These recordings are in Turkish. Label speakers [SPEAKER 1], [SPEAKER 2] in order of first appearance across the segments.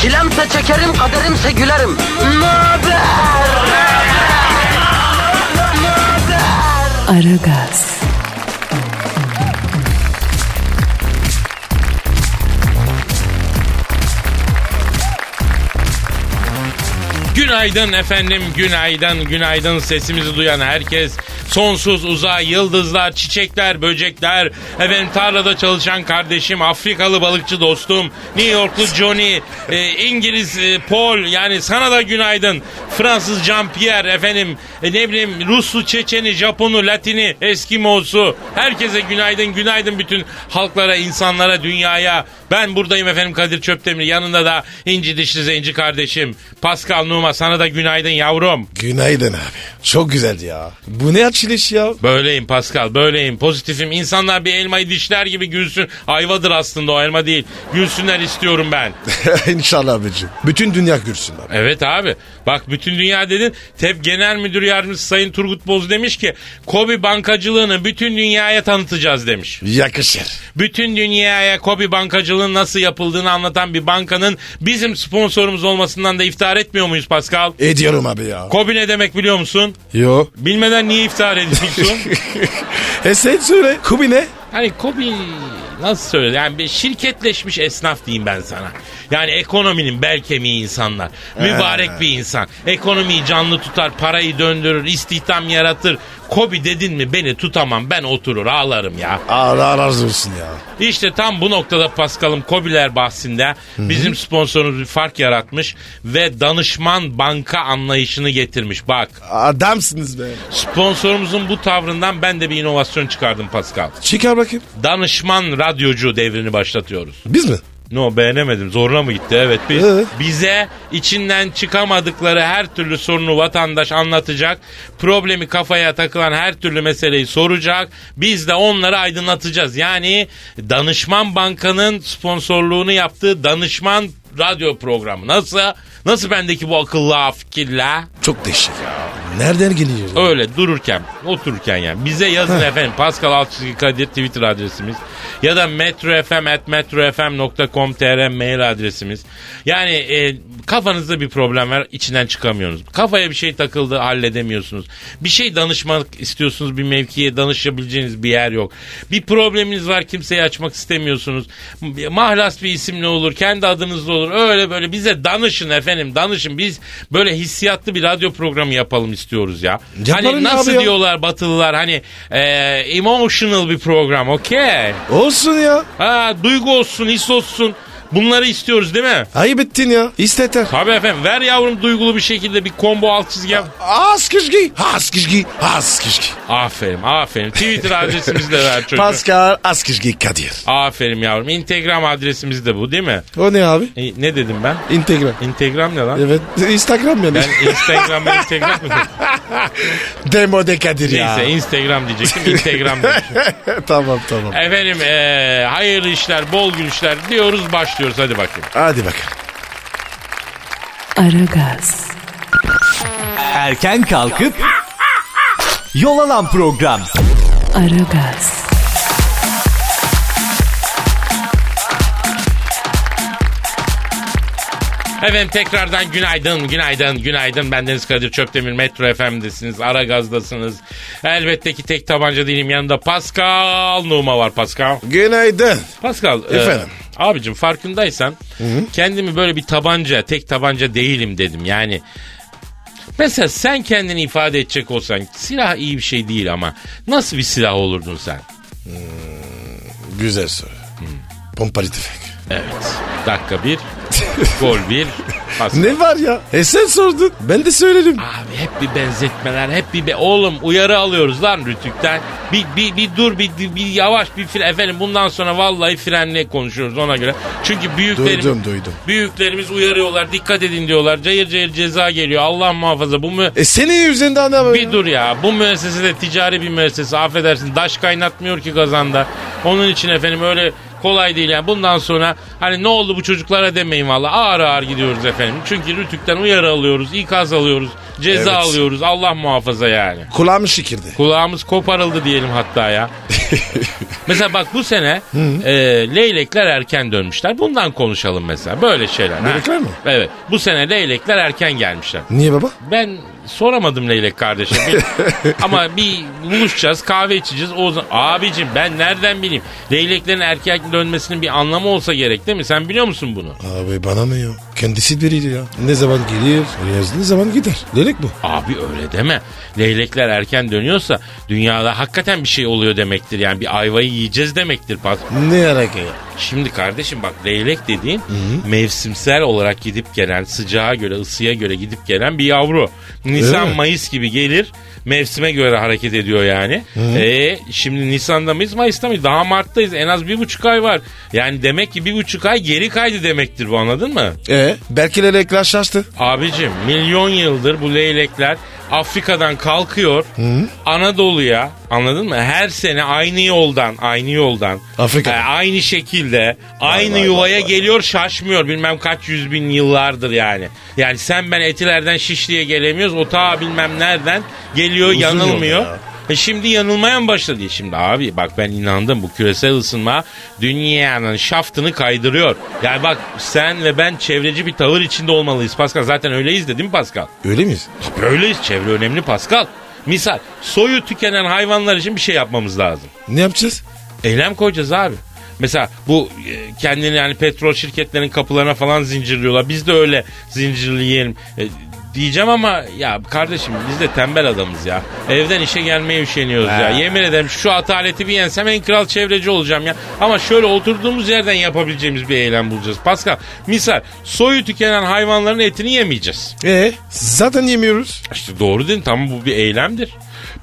[SPEAKER 1] Çilemse çekerim, kaderimse gülerim. Möber!
[SPEAKER 2] Aragaz,
[SPEAKER 3] Günaydın efendim, günaydın, günaydın sesimizi duyan herkes. Sonsuz uzay, yıldızlar, çiçekler, böcekler. Efendim tarlada çalışan kardeşim, Afrikalı balıkçı dostum, New Yorklu Johnny, e, İngiliz e, Paul yani sana da günaydın. Fransız Jean-Pierre efendim, e, ne bileyim Ruslu, Çeçeni, Japonu, Latini, Eskimosu. Herkese günaydın, günaydın bütün halklara, insanlara, dünyaya. Ben buradayım efendim Kadir Çöptemir. Yanında da inci dişli zenci kardeşim. Pascal Numa sana da günaydın yavrum.
[SPEAKER 4] Günaydın abi. Çok güzeldi ya. Bu ne açılış ya?
[SPEAKER 3] Böyleyim Pascal, böyleyim. Pozitifim. İnsanlar bir elmayı dişler gibi gülsün. Ayvadır aslında o elma değil. Gülsünler istiyorum ben.
[SPEAKER 4] İnşallah abicim. Bütün dünya görsün abi.
[SPEAKER 3] Evet abi. Bak bütün dünya dedin. TEP Genel Müdür Yardımcısı Sayın Turgut Boz demiş ki Kobi bankacılığını bütün dünyaya tanıtacağız demiş.
[SPEAKER 4] Yakışır.
[SPEAKER 3] Bütün dünyaya Kobi bankacılığın nasıl yapıldığını anlatan bir bankanın bizim sponsorumuz olmasından da iftihar etmiyor muyuz Pascal?
[SPEAKER 4] Ediyorum abi ya.
[SPEAKER 3] Kobi ne demek biliyor musun?
[SPEAKER 4] Yo.
[SPEAKER 3] Bilmeden niye iftihar ediyorsun?
[SPEAKER 4] e sen söyle. Kubi ne?
[SPEAKER 3] hani Kobi nasıl söyle yani bir şirketleşmiş esnaf diyeyim ben sana. Yani ekonominin bel kemiği insanlar. Mübarek bir insan. Ekonomiyi canlı tutar, parayı döndürür, istihdam yaratır. Kobi dedin mi beni tutamam ben oturur ağlarım ya.
[SPEAKER 4] Allah razı olsun ya.
[SPEAKER 3] İşte tam bu noktada Paskal'ım Kobiler bahsinde bizim sponsorumuz bir fark yaratmış ve danışman banka anlayışını getirmiş. Bak
[SPEAKER 4] Adamsınız be.
[SPEAKER 3] sponsorumuzun bu tavrından ben de bir inovasyon çıkardım Paskal.
[SPEAKER 4] Çıkar bakayım.
[SPEAKER 3] Danışman radyocu devrini başlatıyoruz.
[SPEAKER 4] Biz mi?
[SPEAKER 3] No beğenemedim. Zoruna mı gitti? Evet. Biz,
[SPEAKER 4] Ee?
[SPEAKER 3] bize içinden çıkamadıkları her türlü sorunu vatandaş anlatacak. Problemi kafaya takılan her türlü meseleyi soracak. Biz de onları aydınlatacağız. Yani Danışman Banka'nın sponsorluğunu yaptığı danışman radyo programı. Nasıl? Nasıl bendeki bu akılla fikirle?
[SPEAKER 4] Çok değişik ya. Nereden geliyor? ya?
[SPEAKER 3] Öyle dururken, otururken yani. Bize yazın efendim. Pascal Altçizgi Kadir Twitter adresimiz. Ya da metrofm at metrofm.com.tr mail adresimiz. Yani e, kafanızda bir problem var içinden çıkamıyorsunuz. Kafaya bir şey takıldı halledemiyorsunuz. Bir şey danışmak istiyorsunuz bir mevkiye danışabileceğiniz bir yer yok. Bir probleminiz var kimseye açmak istemiyorsunuz. M- Mahlas bir isimle olur kendi adınızla olur öyle böyle bize danışın efendim danışın. Biz böyle hissiyatlı bir radyo programı yapalım istiyoruz ya.
[SPEAKER 4] Yaparım
[SPEAKER 3] Hani nasıl
[SPEAKER 4] abi ya.
[SPEAKER 3] diyorlar batılılar hani e, emotional bir program okey.
[SPEAKER 4] Olsun ya.
[SPEAKER 3] Ha, duygu olsun his olsun bunları istiyoruz değil mi?
[SPEAKER 4] Ayıp ettin ya. İsteter.
[SPEAKER 3] Tabii efendim ver yavrum duygulu bir şekilde bir combo alt çizgi yap.
[SPEAKER 4] Az kışkı. Az kışkı. Az kışkı.
[SPEAKER 3] Aferin aferin Twitter adresimizi de ver çocuğum.
[SPEAKER 4] Pascal Askizgi Kadir.
[SPEAKER 3] Aferin yavrum. Instagram adresimiz de bu değil mi?
[SPEAKER 4] O ne abi?
[SPEAKER 3] E, ne dedim ben?
[SPEAKER 4] Instagram.
[SPEAKER 3] Instagram ne lan?
[SPEAKER 4] Evet. Instagram yani.
[SPEAKER 3] Ben Instagram ben Instagram mı dedim?
[SPEAKER 4] Demode Kadir ya.
[SPEAKER 3] Neyse Instagram diyecektim. Instagram demişim.
[SPEAKER 4] tamam tamam.
[SPEAKER 3] Efendim e, hayırlı işler, bol gülüşler diyoruz başlıyoruz hadi bakayım.
[SPEAKER 4] Hadi bakalım.
[SPEAKER 2] Aragaz,
[SPEAKER 5] Erken kalkıp yol alan program.
[SPEAKER 2] Aragaz,
[SPEAKER 3] Efendim tekrardan günaydın, günaydın, günaydın. Ben Deniz Kadir Çöptemir, Metro FM'desiniz, Aragaz'dasınız. Elbette ki tek tabanca değilim yanında Pascal Numa var Pascal.
[SPEAKER 4] Günaydın.
[SPEAKER 3] Pascal. e,
[SPEAKER 4] Efendim?
[SPEAKER 3] abicim farkındaysan kendimi böyle bir tabanca, tek tabanca değilim dedim. Yani mesela sen kendini ifade edecek olsan silah iyi bir şey değil ama nasıl bir silah olurdun sen?
[SPEAKER 4] Hmm. Güzel soru. Pompalı tüfek.
[SPEAKER 3] Evet. Dakika bir. Gol bir. pas.
[SPEAKER 4] Ne var ya? E sen sordun. Ben de söylerim.
[SPEAKER 3] Abi hep bir benzetmeler, hep bir be oğlum uyarı alıyoruz lan Rütük'ten. Bir bir bir dur bir, bir bir yavaş bir fren efendim bundan sonra vallahi frenle konuşuyoruz ona göre. Çünkü büyüklerimiz
[SPEAKER 4] Duydum, duydum.
[SPEAKER 3] Büyüklerimiz uyarıyorlar. Dikkat edin diyorlar. Cayır cayır ceza geliyor. Allah muhafaza bu mü
[SPEAKER 4] E senin yüzünden ne var?
[SPEAKER 3] bir dur ya. Bu müessese de ticari bir müessese. Affedersin daş kaynatmıyor ki kazanda. Onun için efendim öyle kolay değil yani. Bundan sonra hani ne oldu bu çocuklara demeyin valla. Ağır ağır gidiyoruz efendim. Çünkü Rütük'ten uyarı alıyoruz, ikaz alıyoruz, ceza
[SPEAKER 4] Evet.
[SPEAKER 3] alıyoruz. Allah muhafaza yani.
[SPEAKER 4] Kulağım şikirdi.
[SPEAKER 3] Kulağımız koparıldı diyelim hatta ya. mesela bak bu sene e, leylekler erken dönmüşler. Bundan konuşalım mesela. Böyle şeyler. ha.
[SPEAKER 4] Leylekler mi?
[SPEAKER 3] Evet. Bu sene leylekler erken gelmişler.
[SPEAKER 4] Niye baba?
[SPEAKER 3] Ben soramadım Leylek kardeşim. Bir- Ama bir buluşacağız, kahve içeceğiz. O zaman abicim ben nereden bileyim? Leyleklerin erkek dönmesinin bir anlamı olsa gerek değil mi? Sen biliyor musun bunu?
[SPEAKER 4] Abi bana ne ya? Kendisi biriydi ya. Ne zaman gelir, ne zaman gider. Delik bu.
[SPEAKER 3] Abi öyle deme. Leylekler erken dönüyorsa dünyada hakikaten bir şey oluyor demektir. Yani bir ayvayı yiyeceğiz demektir Pat.
[SPEAKER 4] Ne alaka ya?
[SPEAKER 3] Ee, Şimdi kardeşim bak leylek dediğin mevsimsel olarak gidip gelen sıcağa göre ısıya göre gidip gelen bir yavru.
[SPEAKER 4] Öyle mi?
[SPEAKER 3] Nisan Mayıs gibi gelir mevsime göre hareket ediyor yani. E, şimdi Nisan'da mıyız Mayıs'ta mıyız? Daha Mart'tayız en az bir buçuk ay var. Yani demek ki bir buçuk ay geri kaydı demektir bu anladın mı?
[SPEAKER 4] E belki lelekler şaştı.
[SPEAKER 3] Abicim milyon yıldır bu leylekler Afrika'dan kalkıyor Anadolu'ya anladın mı? Her sene aynı yoldan aynı yoldan
[SPEAKER 4] Afrika.
[SPEAKER 3] e, aynı şekilde aynı
[SPEAKER 4] vay,
[SPEAKER 3] yuvaya
[SPEAKER 4] vay, vay.
[SPEAKER 3] geliyor şaşmıyor bilmem kaç yüz bin yıllardır yani. Yani sen ben etilerden Şişli'ye gelemiyoruz o ta bilmem nereden geliyor
[SPEAKER 4] Uzun
[SPEAKER 3] yanılmıyor.
[SPEAKER 4] yol ya.
[SPEAKER 3] E şimdi yanılmaya mı başladı? Şimdi abi bak ben inandım bu küresel ısınma dünyanın şaftını kaydırıyor. Yani bak sen ve ben çevreci bir tavır içinde olmalıyız Pascal. Zaten öyleyiz de değil mi Pascal?
[SPEAKER 4] Öyle miyiz?
[SPEAKER 3] Tabii öyleyiz çevre önemli Pascal. Misal soyu tükenen hayvanlar için bir şey yapmamız lazım.
[SPEAKER 4] Ne yapacağız?
[SPEAKER 3] Eylem koyacağız abi. Mesela bu e, kendini yani petrol şirketlerinin kapılarına falan zincirliyorlar. Biz de öyle zincirleyelim. E, diyeceğim ama ya kardeşim biz de tembel adamız ya. Evden işe gelmeye üşeniyoruz ya. Yemin ederim şu ataleti bir yensem en kral çevreci olacağım ya. Ama şöyle oturduğumuz yerden yapabileceğimiz bir eylem bulacağız. Pascal misal soyu tükenen hayvanların etini yemeyeceğiz.
[SPEAKER 4] E zaten yemiyoruz.
[SPEAKER 3] İşte doğru değil mi? Tamam bu bir eylemdir.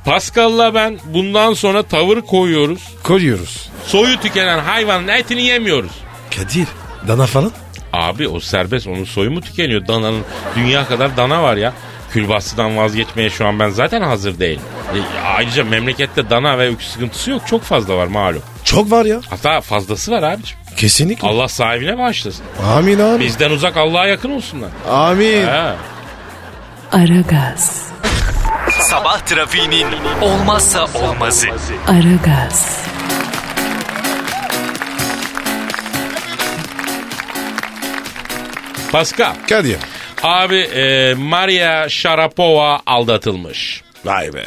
[SPEAKER 3] Pascal'la ben bundan sonra tavır koyuyoruz.
[SPEAKER 4] Koruyoruz.
[SPEAKER 3] Soyu tükenen hayvanın etini yemiyoruz.
[SPEAKER 4] Kadir. Dana falan.
[SPEAKER 3] Abi o serbest onun soyu mu tükeniyor? Dananın dünya kadar dana var ya. Külbastıdan vazgeçmeye şu an ben zaten hazır değilim. E, ayrıca memlekette dana ve öküz sıkıntısı yok. Çok fazla var malum.
[SPEAKER 4] Çok var ya.
[SPEAKER 3] Hatta fazlası var abicim.
[SPEAKER 4] Kesinlikle.
[SPEAKER 3] Allah sahibine bağışlasın.
[SPEAKER 4] Amin abi.
[SPEAKER 3] Bizden uzak Allah'a yakın olsunlar.
[SPEAKER 4] Amin.
[SPEAKER 3] Ha.
[SPEAKER 2] Aragaz,
[SPEAKER 5] Sabah trafiğinin olmazsa olmazı.
[SPEAKER 2] Aragaz,
[SPEAKER 3] Pascal.
[SPEAKER 4] Kadir.
[SPEAKER 3] Abi e, Maria Sharapova aldatılmış.
[SPEAKER 4] Vay be.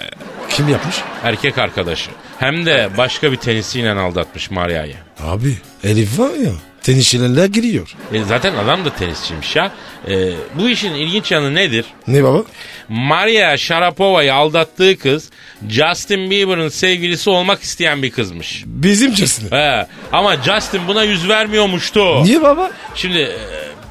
[SPEAKER 4] Kim yapmış?
[SPEAKER 3] Erkek arkadaşı. Hem de başka bir tenisiyle aldatmış Maria'yı.
[SPEAKER 4] Abi Elif var ya. Tenişçilerle giriyor.
[SPEAKER 3] E, zaten adam da tenisçiymiş ya. E, bu işin ilginç yanı nedir?
[SPEAKER 4] Ne baba?
[SPEAKER 3] Maria Sharapova'yı aldattığı kız Justin Bieber'ın sevgilisi olmak isteyen bir kızmış.
[SPEAKER 4] Bizim cesine.
[SPEAKER 3] He, ama Justin buna yüz vermiyormuştu.
[SPEAKER 4] Niye baba?
[SPEAKER 3] Şimdi e,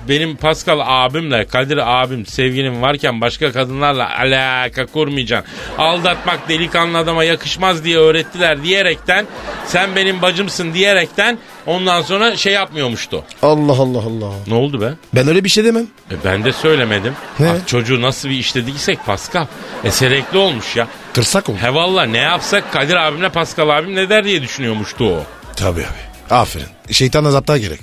[SPEAKER 3] benim Pascal abimle Kadir abim sevgilim varken başka kadınlarla alaka kurmayacaksın. Aldatmak delikanlı adama yakışmaz diye öğrettiler diyerekten sen benim bacımsın diyerekten ondan sonra şey yapmıyormuştu.
[SPEAKER 4] Allah Allah Allah.
[SPEAKER 3] Ne oldu be?
[SPEAKER 4] Ben öyle bir şey demem.
[SPEAKER 3] E ben de söylemedim.
[SPEAKER 4] Ne?
[SPEAKER 3] Ah, çocuğu nasıl bir işlediysek Pascal. Eserekli olmuş ya.
[SPEAKER 4] Tırsak ol.
[SPEAKER 3] He valla ne yapsak Kadir abimle Pascal abim ne der diye düşünüyormuştu o.
[SPEAKER 4] Tabii abi. Aferin. Şeytan azapta gerek.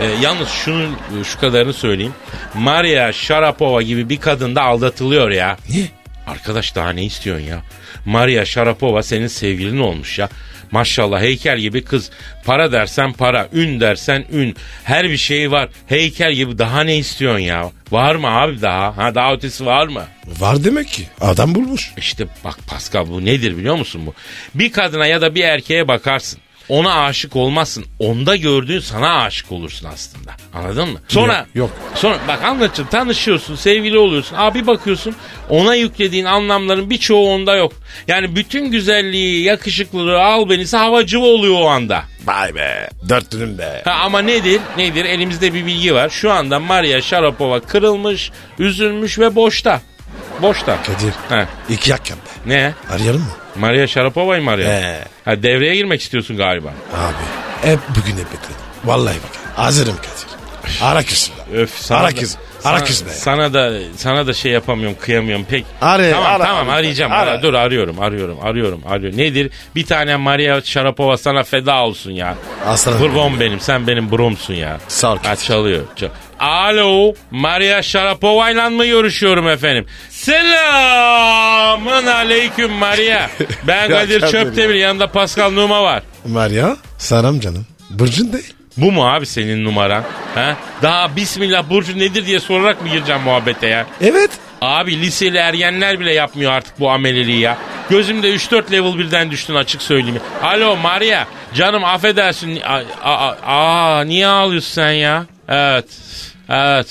[SPEAKER 3] E, yalnız şunun e, şu kadarını söyleyeyim. Maria Sharapova gibi bir kadın da aldatılıyor ya.
[SPEAKER 4] Niye?
[SPEAKER 3] Arkadaş daha ne istiyorsun ya? Maria Sharapova senin sevgilin olmuş ya. Maşallah heykel gibi kız. Para dersen para, ün dersen ün. Her bir şeyi var. Heykel gibi daha ne istiyorsun ya? Var mı abi daha? Ha daha ötesi var mı?
[SPEAKER 4] Var demek ki. Adam bulmuş.
[SPEAKER 3] İşte bak Pascal bu nedir biliyor musun bu? Bir kadına ya da bir erkeğe bakarsın. Ona aşık olmazsın. Onda gördüğün sana aşık olursun aslında. Anladın mı? Sonra
[SPEAKER 4] Yok, yok.
[SPEAKER 3] Sonra bak anlatacağım. Tanışıyorsun, sevgili oluyorsun. Abi bakıyorsun ona yüklediğin anlamların birçoğu onda yok. Yani bütün güzelliği, yakışıklılığı, albenisi havacıva oluyor o anda.
[SPEAKER 4] Vay be. Dört dönüm be.
[SPEAKER 3] Ha, ama nedir? Nedir? Elimizde bir bilgi var. Şu anda Maria Sharapova kırılmış, üzülmüş ve boşta. Boşta.
[SPEAKER 4] Kadir.
[SPEAKER 3] Ha,
[SPEAKER 4] İki hakem be.
[SPEAKER 3] ne?
[SPEAKER 4] Arayalım mı?
[SPEAKER 3] Maria Sharapova'yı mı arıyor?
[SPEAKER 4] He.
[SPEAKER 3] Ha, devreye girmek istiyorsun galiba.
[SPEAKER 4] Abi. Hep bugün hep bekledim. Vallahi bak. Hazırım Kadir. Ara kız.
[SPEAKER 3] Öf sana
[SPEAKER 4] Ara
[SPEAKER 3] da-
[SPEAKER 4] kız.
[SPEAKER 3] sana-
[SPEAKER 4] Ara kız be.
[SPEAKER 3] Sana da sana da şey yapamıyorum, kıyamıyorum pek.
[SPEAKER 4] Ara,
[SPEAKER 3] tamam
[SPEAKER 4] ara,
[SPEAKER 3] tamam
[SPEAKER 4] ara.
[SPEAKER 3] arayacağım.
[SPEAKER 4] Ara.
[SPEAKER 3] Ara. Dur arıyorum, arıyorum, arıyorum, arıyorum. Nedir? Bir tane Maria Sharapova sana feda olsun ya.
[SPEAKER 4] Aslanım
[SPEAKER 3] Brom benim, sen benim bromsun ya.
[SPEAKER 4] Sağ ol.
[SPEAKER 3] Ha, çalıyor. çal- Alo, Maria Sharapova'yla mı görüşüyorum efendim? Selamın aleyküm Maria. Ben
[SPEAKER 4] Ya
[SPEAKER 3] Kadir
[SPEAKER 4] kendine
[SPEAKER 3] Çöptemir, yanımda Pascal Numa var.
[SPEAKER 4] Maria. Saram canım. Burcun ne?
[SPEAKER 3] Bu mu abi senin numaran? Ha? Daha Bismillah Burcu nedir diye sorarak mı gireceğim muhabbete ya?
[SPEAKER 4] Evet.
[SPEAKER 3] Abi liseli ergenler bile yapmıyor artık bu ameliliği ya. Gözümde 3-4 level birden düştün açık söyleyeyim. Alo Maria canım affedersin. Aa, aa, aa, niye ağlıyorsun sen ya? Evet. Evet.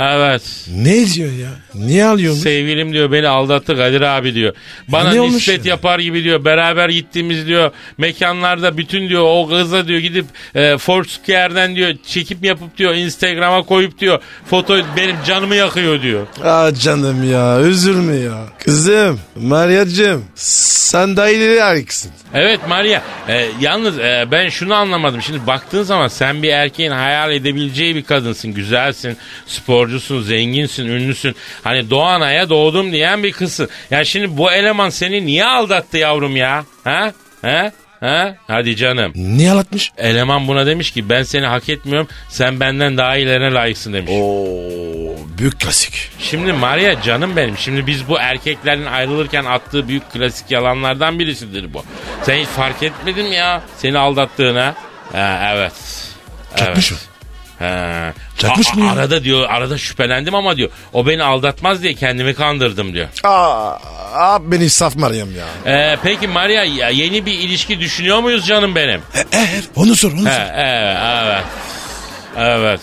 [SPEAKER 3] Evet.
[SPEAKER 4] Ne diyor ya? Niye alıyorsun?
[SPEAKER 3] Sevgilim diyor beni aldattı Kadir abi diyor. Bana
[SPEAKER 4] ne olmuş
[SPEAKER 3] nispet
[SPEAKER 4] ya?
[SPEAKER 3] yapar gibi diyor. Beraber gittiğimiz diyor mekanlarda bütün diyor o kızla diyor gidip e, Foursquare'den diyor çekim yapıp diyor Instagram'a koyup diyor foto benim canımı yakıyor diyor.
[SPEAKER 4] Aa canım ya üzülme ya. Kızım Maria'cığım sen daha ileri harikasın.
[SPEAKER 3] Evet Maria. e, yalnız e, ben şunu anlamadım. Şimdi baktığın zaman sen bir erkeğin hayal edebileceği bir kadınsın. Güzelsin, sporcusun, zenginsin, ünlüsün. Hani Doğanay'a doğdum diyen bir kızsın. Ya şimdi bu eleman seni niye aldattı yavrum ya? Ha? Ha? Ha? Hadi canım.
[SPEAKER 4] Niye anlatmış?
[SPEAKER 3] Eleman buna demiş ki ben seni hak etmiyorum. Sen benden daha iyilerine layıksın demiş.
[SPEAKER 4] Oo büyük klasik.
[SPEAKER 3] Şimdi Maria canım benim. Şimdi biz bu erkeklerin ayrılırken attığı büyük klasik yalanlardan birisidir bu. Sen hiç fark etmedin mi ya seni aldattığına? Ha, evet.
[SPEAKER 4] Çakmış
[SPEAKER 3] evet.
[SPEAKER 4] mı?
[SPEAKER 3] Ha.
[SPEAKER 4] Çakmış
[SPEAKER 3] A-
[SPEAKER 4] mı ya?
[SPEAKER 3] Arada diyor arada şüphelendim ama diyor o beni aldatmaz diye kendimi kandırdım diyor.
[SPEAKER 4] Aa, aa beni saf Maria'm ya.
[SPEAKER 3] Ee, peki Maria ya yeni bir ilişki düşünüyor muyuz canım benim?
[SPEAKER 4] E, e, e, onu sor onu
[SPEAKER 3] Ha,
[SPEAKER 4] sor.
[SPEAKER 3] evet evet. Evet.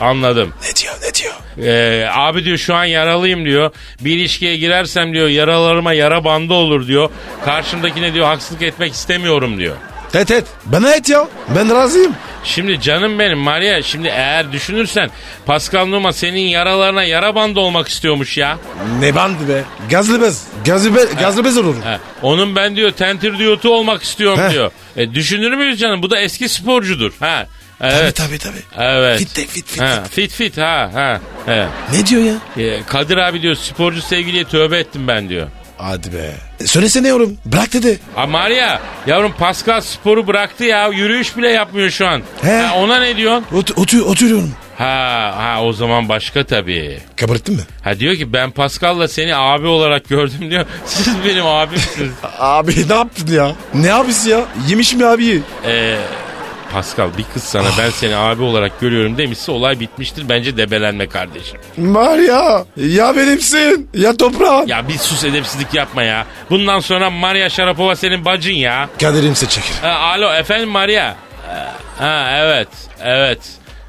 [SPEAKER 3] Anladım.
[SPEAKER 4] Ne diyor ne diyor?
[SPEAKER 3] Ee, abi diyor şu an yaralıyım diyor. Bir ilişkiye girersem diyor yaralarıma yara bandı olur diyor. Karşımdakine diyor haksızlık etmek istemiyorum diyor.
[SPEAKER 4] Et et bana et ya ben razıyım.
[SPEAKER 3] Şimdi canım benim Maria şimdi eğer düşünürsen Pascal Numa senin yaralarına yara bandı olmak istiyormuş ya.
[SPEAKER 4] Ne bandı be? Gazlı bez. Gazlı bez, gazlı bez olurum.
[SPEAKER 3] Ha, onun ben diyor tentir diyotu olmak istiyorum
[SPEAKER 4] Heh.
[SPEAKER 3] diyor. E, düşünür müyüz canım? Bu da eski sporcudur. Ha.
[SPEAKER 4] Tabii
[SPEAKER 3] Evet.
[SPEAKER 4] tabii tabii.
[SPEAKER 3] Evet.
[SPEAKER 4] Fit de fit fit.
[SPEAKER 3] Ha,
[SPEAKER 4] fit.
[SPEAKER 3] fit fit ha ha. Evet.
[SPEAKER 4] Ne diyor ya?
[SPEAKER 3] E, Kadir abi diyor sporcu sevgiliye tövbe ettim ben diyor.
[SPEAKER 4] Hadi be. E, Söylesene oğlum. Bırak dedi.
[SPEAKER 3] Ha Maria yavrum Pascal sporu bıraktı ya yürüyüş bile yapmıyor şu an.
[SPEAKER 4] He.
[SPEAKER 3] Ha, ona ne diyorsun?
[SPEAKER 4] Ot, otu, oturuyorum.
[SPEAKER 3] Ha, ha o zaman başka tabii.
[SPEAKER 4] Kabarttın mı?
[SPEAKER 3] Ha diyor ki ben Pascal'la seni abi olarak gördüm diyor. Siz benim abimsiniz.
[SPEAKER 4] Abi ne yaptın ya? Ne abisi ya? Yemiş mi abiyi?
[SPEAKER 3] Ee, Pascal bir kız sana ben seni abi olarak görüyorum demişse olay bitmiştir. Bence debelenme kardeşim.
[SPEAKER 4] Maria ya benimsin ya toprağın.
[SPEAKER 3] Ya bir sus edepsizlik yapma ya. Bundan sonra Maria Sharapova senin bacın ya.
[SPEAKER 4] Kaderimse çekir.
[SPEAKER 3] Ha, alo efendim Maria. Ha evet evet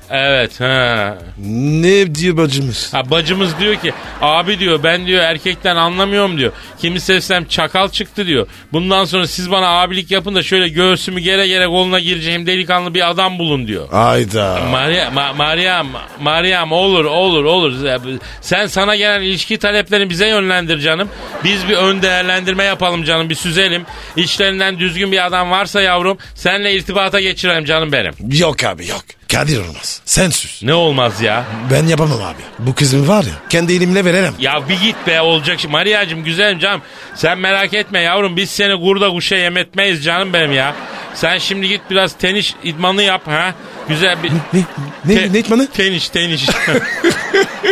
[SPEAKER 3] evet ha.
[SPEAKER 4] Ne diyor bacımız?
[SPEAKER 3] Ha bacımız diyor ki abi diyor ben diyor erkekten anlamıyorum diyor. Kimi sevsem çakal çıktı diyor. Bundan sonra siz bana abilik yapın da şöyle göğsümü gere gere koluna gireceğim delikanlı bir adam bulun diyor.
[SPEAKER 4] Ayda.
[SPEAKER 3] Maria, Ma- Mariam, Mariam olur olur olur. Sen sana gelen ilişki taleplerini bize yönlendir canım. Biz bir ön değerlendirme yapalım canım bir süzelim. İçlerinden düzgün bir adam varsa yavrum senle irtibata geçirelim canım benim.
[SPEAKER 4] Yok abi yok. Kadir olmaz. Sen sus.
[SPEAKER 3] Ne olmaz ya?
[SPEAKER 4] Ben yapamam abi. Bu kızım var ya kendi elimle veremem.
[SPEAKER 3] Ya bir git be olacak. şey- Mariacım güzelim canım. Sen merak etme yavrum. Biz seni kurda kuşa yem etmeyiz canım benim ya. Sen şimdi git biraz tenis idmanı yap ha. Güzel bir...
[SPEAKER 4] Ne? Ne,
[SPEAKER 3] Te-
[SPEAKER 4] ne itmanı?
[SPEAKER 3] Tenis, tenis.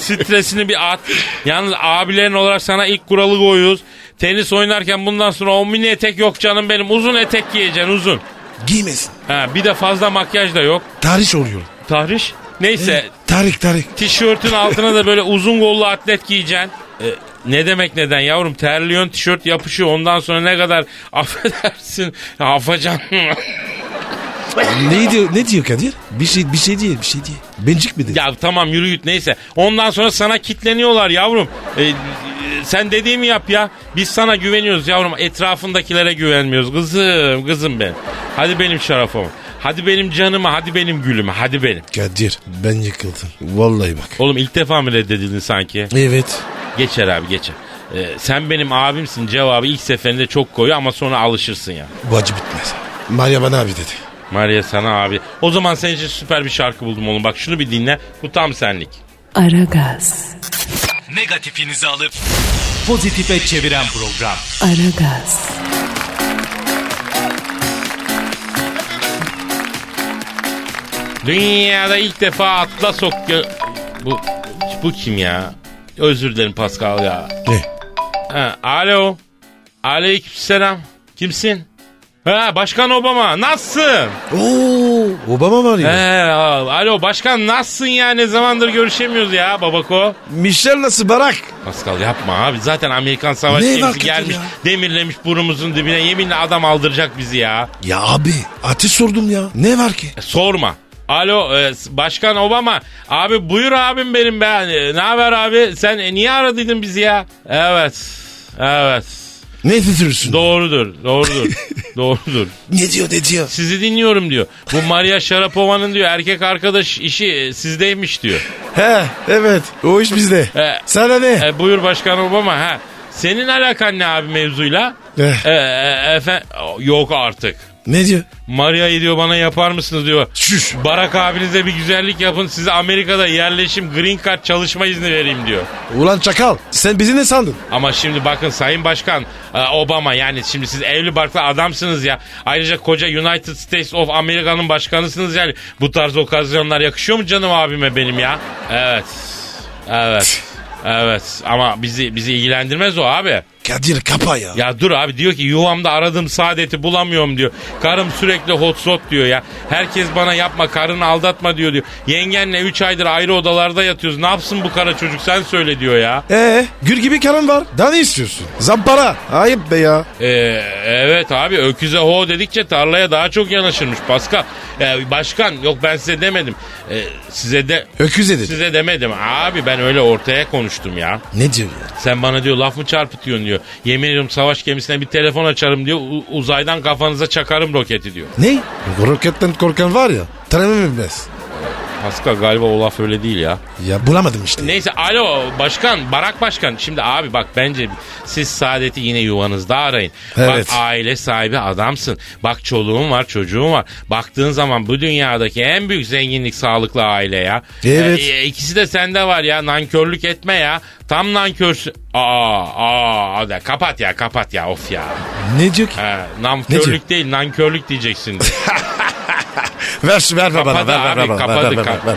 [SPEAKER 3] Stresini bir at. Yalnız abilerin olarak sana ilk kuralı koyuyoruz. Tenis oynarken bundan sonra o mini etek yok canım benim. Uzun etek giyeceksin uzun.
[SPEAKER 4] Giymesin.
[SPEAKER 3] Ha, bir de fazla makyaj da yok.
[SPEAKER 4] Tarih oluyor.
[SPEAKER 3] Tahriş. Neyse
[SPEAKER 4] Tarık Tarık.
[SPEAKER 3] tişörtün altına da böyle uzun kollu atlet giyeceksin. E, Ne demek neden yavrum terliyorsun tişört yapışıyor ondan sonra ne kadar affedersin afacan.
[SPEAKER 4] Ne diyor, ne diyor Kadir? Bir şey bir şey diye bir şey diye. Bencik mi dedi?
[SPEAKER 3] ya tamam yürü git neyse ondan sonra sana kitleniyorlar yavrum. E, e, sen dediğimi yap ya biz sana güveniyoruz yavrum etrafındakilere güvenmiyoruz kızım kızım ben. Hadi benim şarafım hadi benim canıma hadi benim gülüme hadi benim.
[SPEAKER 4] Kadir ben yıkıldım. Vallahi bak.
[SPEAKER 3] Oğlum ilk defa mı reddedildin sanki?
[SPEAKER 4] Evet.
[SPEAKER 3] Geçer abi geçer. Ee, sen benim abimsin cevabı ilk seferinde çok koyu ama sonra alışırsın ya.
[SPEAKER 4] Bu acı bitmez. Maria bana abi dedi.
[SPEAKER 3] Maria sana abi. O zaman senin için süper bir şarkı buldum oğlum. Bak şunu bir dinle. Bu tam senlik.
[SPEAKER 2] Aragaz,
[SPEAKER 5] Negatifinizi alıp pozitife çeviren program.
[SPEAKER 2] Aragaz,
[SPEAKER 3] Dünyada ilk defa atlas okya... Bu, bu kim ya? Özür dilerim Pascal ya.
[SPEAKER 4] Ne?
[SPEAKER 3] Ha, alo. Aleykümselam. Kimsin? Ha, Başkan Obama nasılsın?
[SPEAKER 4] Oo, Obama var ya.
[SPEAKER 3] He, al- alo başkan nasılsın ya ne zamandır görüşemiyoruz ya babako.
[SPEAKER 4] Michel nasıl barak?
[SPEAKER 3] Pascal yapma abi zaten Amerikan savaş
[SPEAKER 4] Ne
[SPEAKER 3] gemisi
[SPEAKER 4] var Kadir
[SPEAKER 3] gelmiş
[SPEAKER 4] ya?
[SPEAKER 3] demirlemiş burnumuzun dibine yeminle adam aldıracak bizi ya.
[SPEAKER 4] Ya abi ateş sordum ya. Ne var ki?
[SPEAKER 3] E, sorma. Alo e, s- başkan Obama abi buyur abim benim be E, ne haber abi sen e, niye aradıydın bizi ya? Evet evet
[SPEAKER 4] Ne titriyorsun?
[SPEAKER 3] doğrudur doğrudur doğrudur.
[SPEAKER 4] ne diyor ne diyor?
[SPEAKER 3] Sizi dinliyorum diyor. Bu Maria Sharapova'nın diyor erkek arkadaş işi e, sizdeymiş diyor.
[SPEAKER 4] He evet o iş bizde.
[SPEAKER 3] E,
[SPEAKER 4] Sana ne?
[SPEAKER 3] E, buyur Başkan Obama. Ha. Senin alakan ne abi mevzuyla?
[SPEAKER 4] Eh.
[SPEAKER 3] E, e, efe- yok artık.
[SPEAKER 4] ne diyor?
[SPEAKER 3] Maria'yı diyor bana yapar mısınız diyor.
[SPEAKER 4] Şuş.
[SPEAKER 3] Barak abinize bir güzellik yapın size Amerika'da yerleşim green card çalışma izni vereyim diyor.
[SPEAKER 4] Ulan çakal sen bizi ne sandın?
[SPEAKER 3] Ama şimdi bakın Sayın Başkan e, Obama yani şimdi siz evli barklı adamsınız ya. Ayrıca koca United States of America'nın başkanısınız yani. Bu tarz okazyonlar yakışıyor mu canım abime benim ya? Evet. Evet. Evet ama bizi bizi ilgilendirmez o abi.
[SPEAKER 4] Kadir kapa ya.
[SPEAKER 3] Ya dur abi diyor ki yuvamda aradım saadeti bulamıyorum diyor. Karım sürekli hot shot diyor ya. Herkes bana yapma karını aldatma diyor diyor. Yengenle 3 aydır ayrı odalarda yatıyoruz. Ne yapsın bu kara çocuk sen söyle diyor ya.
[SPEAKER 4] Ee, gül gibi karın var. Daha ne istiyorsun? Zampara. Ayıp be ya.
[SPEAKER 3] Ee, evet abi öküze ho dedikçe tarlaya daha çok yanaşırmış Pascal. Ee, başkan yok ben size demedim. Ee, size de...
[SPEAKER 4] Öküz dedi.
[SPEAKER 3] Size demedim abi ben öyle ortaya konuştum ya.
[SPEAKER 4] Ne diyor ya?
[SPEAKER 3] Sen bana diyor laf mı çarpıtıyorsun diyor. Yemin ediyorum savaş gemisine bir telefon açarım diyor. U- uzaydan kafanıza çakarım roketi diyor.
[SPEAKER 4] Ne? Roketten korkan var ya. Tanımam bilmez.
[SPEAKER 3] Pascal galiba o laf öyle değil ya.
[SPEAKER 4] Ya bulamadım işte.
[SPEAKER 3] Neyse alo başkan, barak başkan. Şimdi abi bak bence siz saadeti yine yuvanızda arayın.
[SPEAKER 4] Evet.
[SPEAKER 3] Bak aile sahibi adamsın. Bak çoluğun var çocuğun var. Baktığın zaman bu dünyadaki en büyük zenginlik sağlıklı aile ya. E,
[SPEAKER 4] Evet.
[SPEAKER 3] ikisi de sende var ya nankörlük etme ya. Tam nankörsün. Aa, aa, hadi kapat ya kapat ya of ya.
[SPEAKER 4] Ne diyor ki?
[SPEAKER 3] Ha,
[SPEAKER 4] Ne diyor?
[SPEAKER 3] nankörlük değil nankörlük diyeceksin.
[SPEAKER 4] Ver, şu- ver, ver bana.
[SPEAKER 3] Kapadı
[SPEAKER 4] Ver, ver,
[SPEAKER 3] abi,
[SPEAKER 4] ver bana. Ver,
[SPEAKER 3] kapadı,
[SPEAKER 4] ver, ver,
[SPEAKER 3] kapadı.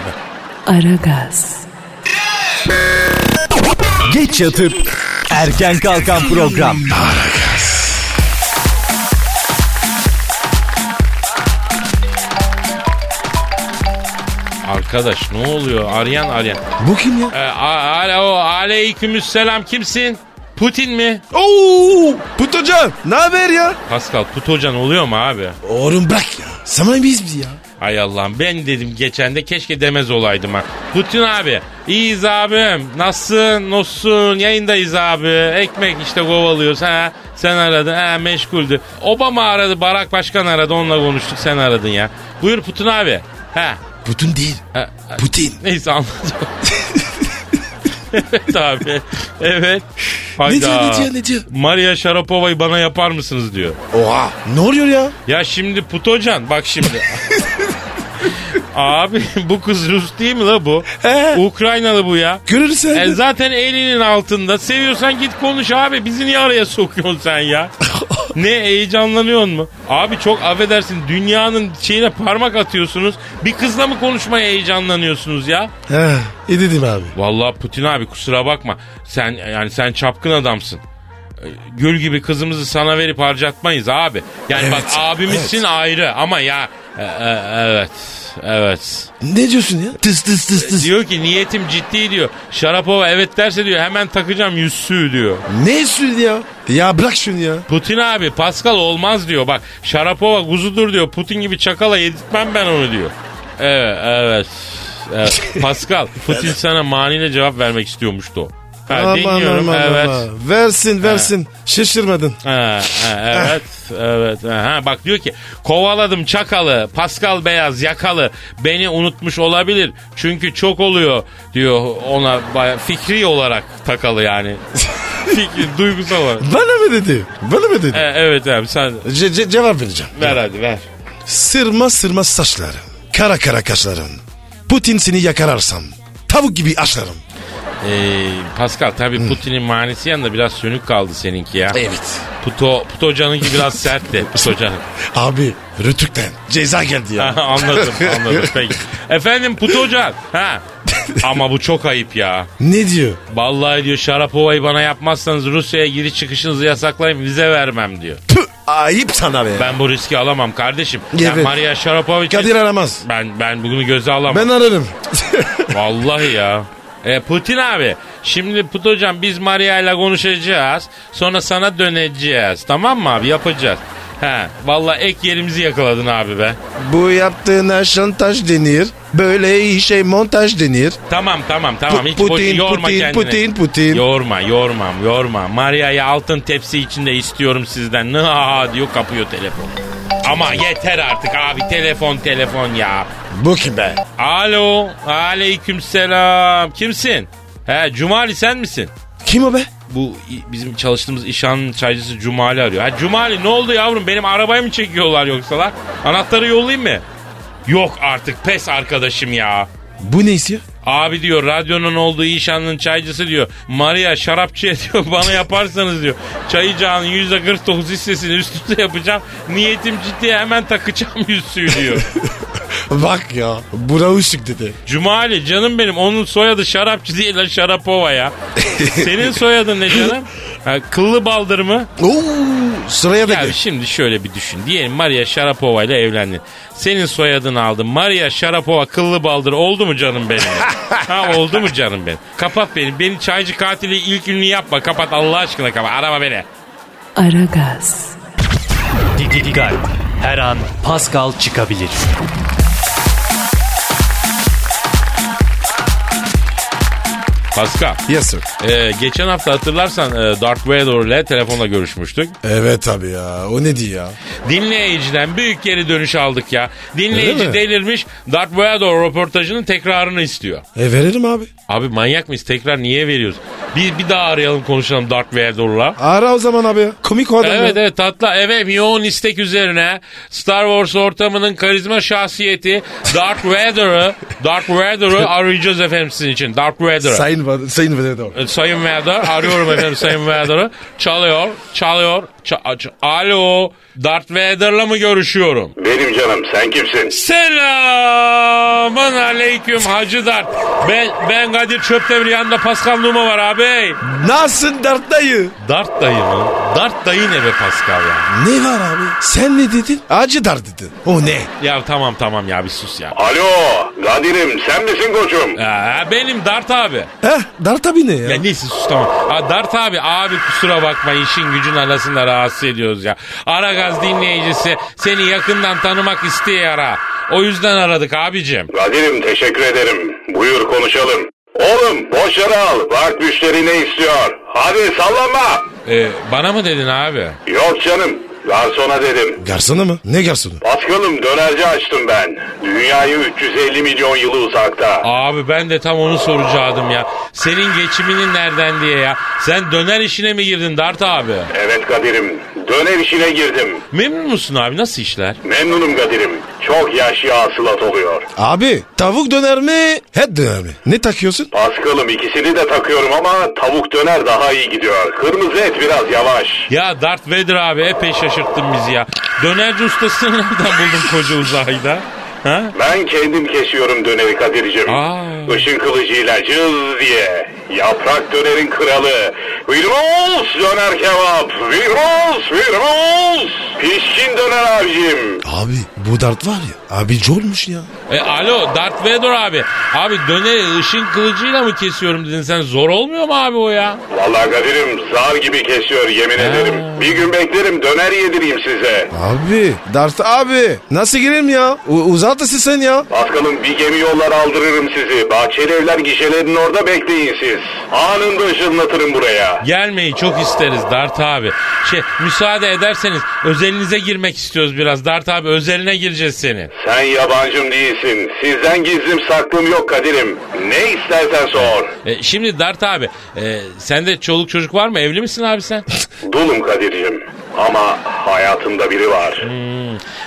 [SPEAKER 4] ver, ver.
[SPEAKER 2] Aragaz,
[SPEAKER 6] Geç yatıp erken kalkan program.
[SPEAKER 3] Arkadaş ne oluyor arayan arayan.
[SPEAKER 4] Bu kim ya?
[SPEAKER 3] E, a- alo aleykümselam kimsin? Putin mi?
[SPEAKER 4] Oo, Putocan. Ne haber ya?
[SPEAKER 3] Pascal Putocan oluyor mu abi?
[SPEAKER 4] Oğlum bırak ya. Samanyolu biz biz ya.
[SPEAKER 3] Ay Allah'ım ben dedim geçen de keşke demez olaydım ha. Putin abi iyiyiz abim. Nasılsın? Nasılsın? Yayındayız abi. Ekmek işte kovalıyoruz ha. Sen aradın ha meşguldü. Obama aradı Barak Başkan aradı onunla konuştuk sen aradın ya. Buyur Putin abi. Ha.
[SPEAKER 4] Putin değil.
[SPEAKER 3] ha, ha.
[SPEAKER 4] Putin.
[SPEAKER 3] Neyse anladım. evet abi. Evet.
[SPEAKER 4] Ne diyor,
[SPEAKER 3] Hayda.
[SPEAKER 4] ne diyor, ne diyor?
[SPEAKER 3] Maria Sharapova'yı bana yapar mısınız diyor.
[SPEAKER 4] Oha. Ne oluyor ya?
[SPEAKER 3] Ya şimdi Putocan bak şimdi. Abi bu kız Rus değil mi la bu?
[SPEAKER 4] He.
[SPEAKER 3] Ukraynalı bu ya.
[SPEAKER 4] Görürsen.
[SPEAKER 3] E zaten elinin altında. Seviyorsan git konuş abi. Bizi niye araya sokuyorsun sen ya? ne heyecanlanıyorsun mu? Abi çok affedersin dünyanın şeyine parmak atıyorsunuz. Bir kızla mı konuşmaya heyecanlanıyorsunuz ya?
[SPEAKER 4] He, iyi dedim abi.
[SPEAKER 3] Vallahi Putin abi kusura bakma. Sen yani sen çapkın adamsın. Ee, Gül gibi kızımızı sana verip harcatmayız abi. Yani bak
[SPEAKER 4] Evet,
[SPEAKER 3] abimizsin ayrı ama ya E- e- evet, evet.
[SPEAKER 4] Ne diyorsun ya? Tıs tıs tıs tıs.
[SPEAKER 3] Diyor ki niyetim ciddi diyor. Şarapova evet derse diyor hemen takacağım yüzsüğü diyor.
[SPEAKER 4] Ne sürü ya? Ya bırak şunu ya.
[SPEAKER 3] Putin abi Pascal olmaz diyor. Bak Şarapova kuzudur diyor. Putin gibi çakala yedirtmem ben onu diyor. Evet, evet. evet. Pascal, Putin sana maniyle cevap vermek istiyormuştu o. Ha, dinliyorum, evet.
[SPEAKER 4] Versin versin. Şaşırmadın.
[SPEAKER 3] Ha, ha, evet, evet. Ha, bak diyor ki kovaladım çakalı, Pascal beyaz yakalı. Beni unutmuş olabilir. Çünkü çok oluyor diyor ona baya- fikri olarak takalı yani. fikri, duygusal olarak.
[SPEAKER 4] Bana mı dedi? Bana mı dedi?
[SPEAKER 3] E, evet abi sen
[SPEAKER 4] Ce- ce- cevap vereceğim.
[SPEAKER 3] ver hadi ver.
[SPEAKER 4] Sırma sırma saçları. Kara kara kaşların. Putin seni yakararsam. Tavuk gibi açlarım.
[SPEAKER 3] Ee, Pascal tabii Putin'in manisi yanında biraz sönük kaldı seninki ya.
[SPEAKER 4] Evet.
[SPEAKER 3] Puto, Putocan'ınki biraz sertti. Putocan'ın.
[SPEAKER 4] Abi Rütük'ten ceza geldi ya.
[SPEAKER 3] Ha, anladım anladım peki. Efendim Putocan. Ha. Ama bu çok ayıp ya.
[SPEAKER 4] ne diyor?
[SPEAKER 3] Vallahi diyor Şarapova'yı bana yapmazsanız Rusya'ya giriş çıkışınızı yasaklayın vize vermem diyor.
[SPEAKER 4] Tüh, ayıp sana be.
[SPEAKER 3] Ben bu riski alamam kardeşim. Ben
[SPEAKER 4] Evet.
[SPEAKER 3] Maria Şarapova için
[SPEAKER 4] Kadir aramaz.
[SPEAKER 3] ben ben bunu göze alamam.
[SPEAKER 4] Ben ararım.
[SPEAKER 3] Vallahi ya. E Putin abi şimdi Putocan biz Maria ile konuşacağız. Sonra sana döneceğiz. Tamam mı abi yapacağız. He vallahi ek yerimizi yakaladın abi be.
[SPEAKER 4] Bu yaptığına şantaj denir. Böyle şey montaj denir.
[SPEAKER 3] Tamam tamam tamam
[SPEAKER 4] Pu-
[SPEAKER 3] hiç boş-
[SPEAKER 4] Putin,
[SPEAKER 3] yorma
[SPEAKER 4] Putin,
[SPEAKER 3] kendini.
[SPEAKER 4] Putin, Putin.
[SPEAKER 3] Yorma yormam yorma. Maria'yı altın tepsi içinde istiyorum sizden. Nıha diyor kapıyor telefon. Ama yeter artık abi telefon telefon ya.
[SPEAKER 4] Bu kim be?
[SPEAKER 3] Alo aleykümselam kimsin? He Cumali sen misin?
[SPEAKER 4] Kim o be?
[SPEAKER 3] bu i- bizim çalıştığımız işhanın çaycısı Cumali arıyor. Ha Cumali ne oldu yavrum benim arabayı mı çekiyorlar yoksa lan? Anahtarı yollayayım mı? Yok artık pes arkadaşım ya.
[SPEAKER 4] Bu ne istiyor?
[SPEAKER 3] Abi diyor radyonun olduğu işhanın çaycısı diyor. Maria şarapçıya diyor bana yaparsanız diyor. Çayıcağın %49 hissesini üst üste yapacağım. Niyetim ciddi hemen takacağım yüzsüğü diyor.
[SPEAKER 4] Bak ya. Bura ışık dedi.
[SPEAKER 3] Cumali canım benim onun soyadı şarapçı değil lan Şarapova ya. Senin soyadın ne canım? Ha, kıllı baldır mı?
[SPEAKER 4] Oo, sıraya da
[SPEAKER 3] Ya
[SPEAKER 4] gel.
[SPEAKER 3] şimdi şöyle bir düşün. Diyelim Maria Sharapova ile evlendin. Senin soyadını aldın. Maria Sharapova kıllı baldır oldu mu canım benim? ha oldu mu canım benim? Kapat beni. Beni çaycı katili ilk ünlü yapma. Kapat Allah aşkına kapat. Arama beni.
[SPEAKER 2] Aragaz,
[SPEAKER 6] Didi Digal. Her an Pascal çıkabilir.
[SPEAKER 3] Pascal.
[SPEAKER 4] Yes sir.
[SPEAKER 3] e, geçen hafta hatırlarsan e, Darth Vader ile telefonla görüşmüştük.
[SPEAKER 4] Evet abi ya. O ne diyor ya?
[SPEAKER 3] Dinleyiciden büyük geri dönüş aldık ya. Dinleyici
[SPEAKER 4] Öyle mi?
[SPEAKER 3] delirmiş Darth Vader röportajının tekrarını istiyor.
[SPEAKER 4] E veririm abi.
[SPEAKER 3] Abi manyak mıyız? Tekrar niye veriyoruz? Bir, bir daha arayalım konuşalım Darth Vader'la.
[SPEAKER 4] Ara o zaman abi. Komik o adam
[SPEAKER 3] Evet
[SPEAKER 4] ya.
[SPEAKER 3] evet tatlı evet yoğun istek üzerine Star Wars ortamının karizma şahsiyeti Darth Vader'ı Darth Vader'ı arayacağız efendim sizin için Darth Vader'ı.
[SPEAKER 4] Sayın, Vader- Sayın Vedat.
[SPEAKER 3] E, Sayın Vader arıyorum efendim Sayın Vader'ı. Çalıyor, çalıyor. ça- aç- Alo, Darth Vader'la mı görüşüyorum?
[SPEAKER 7] Benim canım sen kimsin?
[SPEAKER 3] Selamun aleyküm Hacı Darth. Ben ben Kadir Çöptemir yanında Pascal Numa var abi.
[SPEAKER 4] Nasılsın Dert dayı?
[SPEAKER 3] Darth dayı mı? Darth dayı ne be Pascal ya?
[SPEAKER 4] Ne var abi? Sen ne dedin? Acı dar dedin. O ne?
[SPEAKER 3] Ya tamam tamam ya bir sus ya.
[SPEAKER 7] Alo Kadir'im sen misin koçum?
[SPEAKER 3] Aa, benim Dart abi.
[SPEAKER 4] Heh, Dert abi ne ya?
[SPEAKER 3] Ya neyse sus tamam. Aa, Dart abi abi kusura bakma işin gücün arasında rahatsız ediyoruz ya. Aragaz dinleyicisi seni yakından tanımak istiyor ha. O yüzden aradık abicim.
[SPEAKER 7] Kadir'im teşekkür ederim. Buyur konuşalım. Oğlum boş yere al. Bak müşteri ne istiyor. Hadi sallanma.
[SPEAKER 3] Ee, bana mı dedin abi?
[SPEAKER 7] Yok canım. Garsona dedim.
[SPEAKER 4] Garsonu mu? Ne garsonu?
[SPEAKER 7] Paskal'ım dönerci açtım ben. Dünyayı 350 milyon yılı uzakta.
[SPEAKER 3] Abi ben de tam onu soracaktım ya. Senin geçiminin nereden diye ya. Sen döner işine mi girdin Dart abi?
[SPEAKER 7] Evet Kadir'im. Döner işine girdim.
[SPEAKER 3] Memnun musun abi nasıl işler?
[SPEAKER 7] Memnunum Kadir'im. Çok yaşlı hasılat oluyor.
[SPEAKER 4] Abi tavuk döner mi? Et döner mi? Ne takıyorsun?
[SPEAKER 7] Paskal'ım ikisini de takıyorum ama tavuk döner daha iyi gidiyor. Kırmızı et biraz yavaş.
[SPEAKER 3] Ya Darth Vader abi epey şaşırttın bizi ya. Dönerci ustasını nereden buldun koca uzayda? Ha?
[SPEAKER 7] Ben kendim kesiyorum döneri Kadir'cim.
[SPEAKER 3] Aa.
[SPEAKER 7] Işın kılıcıyla cız diye. Yaprak dönerin kralı. Virmols döner kebap. Virmols, virmols. Pişkin döner abicim.
[SPEAKER 4] Abi bu dart var ya. Abi olmuş ya.
[SPEAKER 3] E, alo Darth Vader abi. Abi döneri ışın kılıcıyla mı kesiyorum dedin sen? Zor olmuyor mu abi o ya?
[SPEAKER 7] Vallahi Kadir'im zar gibi kesiyor yemin ederim. Bir gün beklerim döner yedireyim size.
[SPEAKER 4] Abi dart abi. Nasıl gireyim ya? U- uzat da sen ya.
[SPEAKER 7] Paskal'ın bir gemi yollar aldırırım sizi. Bahçeli evler gişelerinin orada bekleyin siz. Anında ışınlatırım buraya.
[SPEAKER 3] Gelmeyi çok isteriz Dart abi. Şey müsaade ederseniz özelinize girmek istiyoruz biraz. Dart abi özeline gireceğiz senin.
[SPEAKER 7] Sen yabancım değilsin. Sizden gizlim saklım yok Kadir'im. Ne istersen sor.
[SPEAKER 3] E, şimdi Dart abi e, sende çoluk çocuk var mı? Evli misin abi sen?
[SPEAKER 7] Dulum Kadir'cim. Ama hayatımda biri var.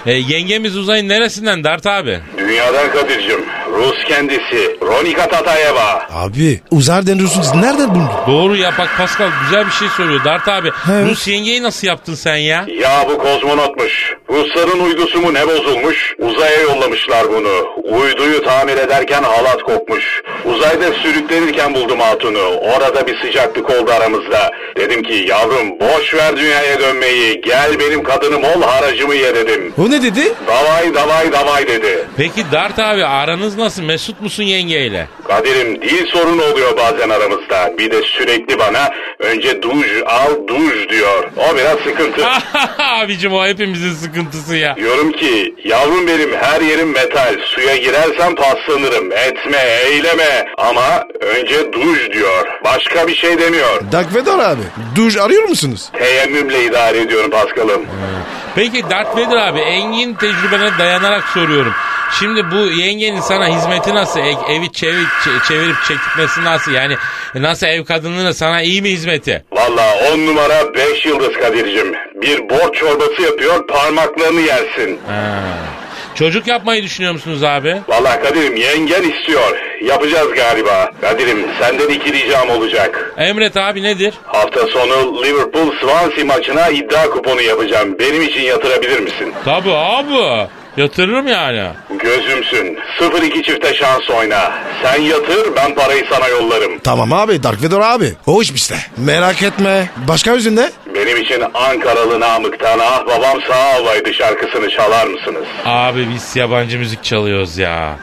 [SPEAKER 3] E, yengemiz uzayın neresinden Dart abi?
[SPEAKER 7] Dünyadan Kadir'cim. Rus kendisi. Ronika Tatayeva.
[SPEAKER 4] Abi uzar deniyorsunuz. Nereden buldun?
[SPEAKER 3] Doğru ya bak Pascal güzel bir şey söylüyor Dart abi.
[SPEAKER 4] Evet.
[SPEAKER 3] Rus yengeyi nasıl yaptın sen ya?
[SPEAKER 7] Ya bu kozmonotmuş. Rusların uydusu mu ne bozulmuş? Uzaya yollamışlar bunu. Uyduyu tamir ederken halat kopmuş. Uzayda sürüklenirken buldum hatunu. Orada bir sıcaklık oldu aramızda. Dedim ki yavrum boş ver dünyaya dönmeyi. Gel benim kadınım ol haracımı ye dedim.
[SPEAKER 4] O ne dedi?
[SPEAKER 7] Davay davay davay dedi.
[SPEAKER 3] Peki Dart abi aranız nasıl? Mesut musun yengeyle?
[SPEAKER 7] Kadir'im dil sorunu oluyor bazen aramızda. Bir de sürekli bana önce duş al duş diyor. O biraz sıkıntı.
[SPEAKER 3] Ah! Abicim o hepimizin sıkıntısı ya.
[SPEAKER 7] Diyorum ki yavrum benim her yerim metal. Suya girersem paslanırım. Etme, eyleme. Ama önce duş diyor. Başka bir şey demiyor.
[SPEAKER 4] Dark Vader abi. Duş arıyor musunuz?
[SPEAKER 7] Teyemmümle idare ediyorum Paskal'ım.
[SPEAKER 3] Peki Darth Vader abi engin tecrübene dayanarak soruyorum. Şimdi bu yengenin sana hizmeti nasıl? E- evi çevir, çe- çevirip çekmesi nasıl? Yani nasıl ev kadınlığına sana iyi mi hizmeti?
[SPEAKER 7] Valla on numara beş yıldız Kadir'cim. Bir borç çorbası yapıyor parmaklarını yersin.
[SPEAKER 3] Ha. Çocuk yapmayı düşünüyor musunuz abi?
[SPEAKER 7] Valla Kadir'im yengen istiyor. Yapacağız galiba. Kadir'im senden iki ricam olacak.
[SPEAKER 3] Emret abi nedir?
[SPEAKER 7] Hafta sonu Liverpool Swansea maçına iddia kuponu yapacağım. Benim için yatırabilir misin?
[SPEAKER 3] Tabii abi. Yatırırım yani.
[SPEAKER 7] Gözümsün. 0-2 çifte şans oyna. Sen yatır ben parayı sana yollarım.
[SPEAKER 4] Tamam abi Dark Vader abi. O iş bizde. Merak etme. Başka yüzünde?
[SPEAKER 7] Benim için Ankaralı Namık'tan ah babam sağ olaydı şarkısını çalar mısınız?
[SPEAKER 3] Abi biz yabancı müzik çalıyoruz ya.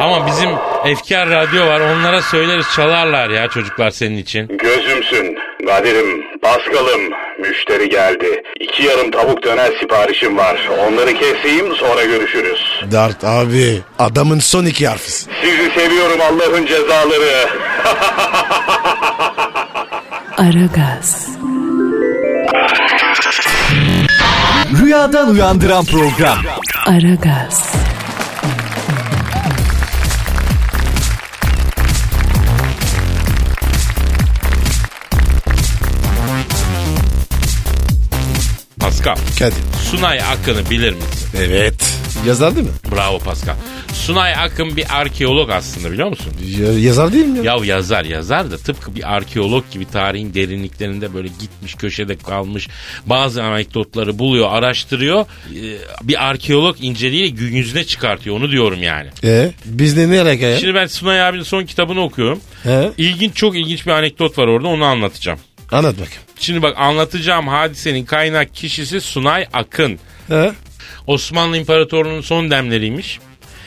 [SPEAKER 3] Ama bizim efkar radyo var onlara söyleriz çalarlar ya çocuklar senin için.
[SPEAKER 7] Gözümsün. Kadir'im, Paskal'ım. Müşteri geldi. İki yarım tavuk döner siparişim var. Onları keseyim sonra görüşürüz.
[SPEAKER 4] Dart abi. Adamın son iki harfisi.
[SPEAKER 7] Sizi seviyorum Allah'ın cezaları.
[SPEAKER 2] Aragaz,
[SPEAKER 6] Rüyadan uyandıran program.
[SPEAKER 2] Aragaz,
[SPEAKER 3] Pascal,
[SPEAKER 4] Hadi.
[SPEAKER 3] Sunay Akın'ı bilir misin?
[SPEAKER 4] Evet. Yazar değil mi?
[SPEAKER 3] Bravo Pascal. Sunay Akın bir arkeolog aslında biliyor musun?
[SPEAKER 4] Ya- yazar değil mi? ya?
[SPEAKER 3] Ya yazar yazar da tıpkı bir arkeolog gibi tarihin derinliklerinde böyle gitmiş köşede kalmış bazı anekdotları buluyor araştırıyor. Ee, Bir arkeolog inceliğiyle gün yüzüne çıkartıyor onu diyorum yani.
[SPEAKER 4] E, biz de ne alaka ya?
[SPEAKER 3] Şimdi ben Sunay abinin son kitabını okuyorum.
[SPEAKER 4] He?
[SPEAKER 3] İlginç çok ilginç bir anekdot var orada onu anlatacağım.
[SPEAKER 4] Anlat bakayım.
[SPEAKER 3] Şimdi bak anlatacağım hadisenin kaynak kişisi Sunay Akın.
[SPEAKER 4] He?
[SPEAKER 3] Osmanlı İmparatorluğu'nun son demleriymiş.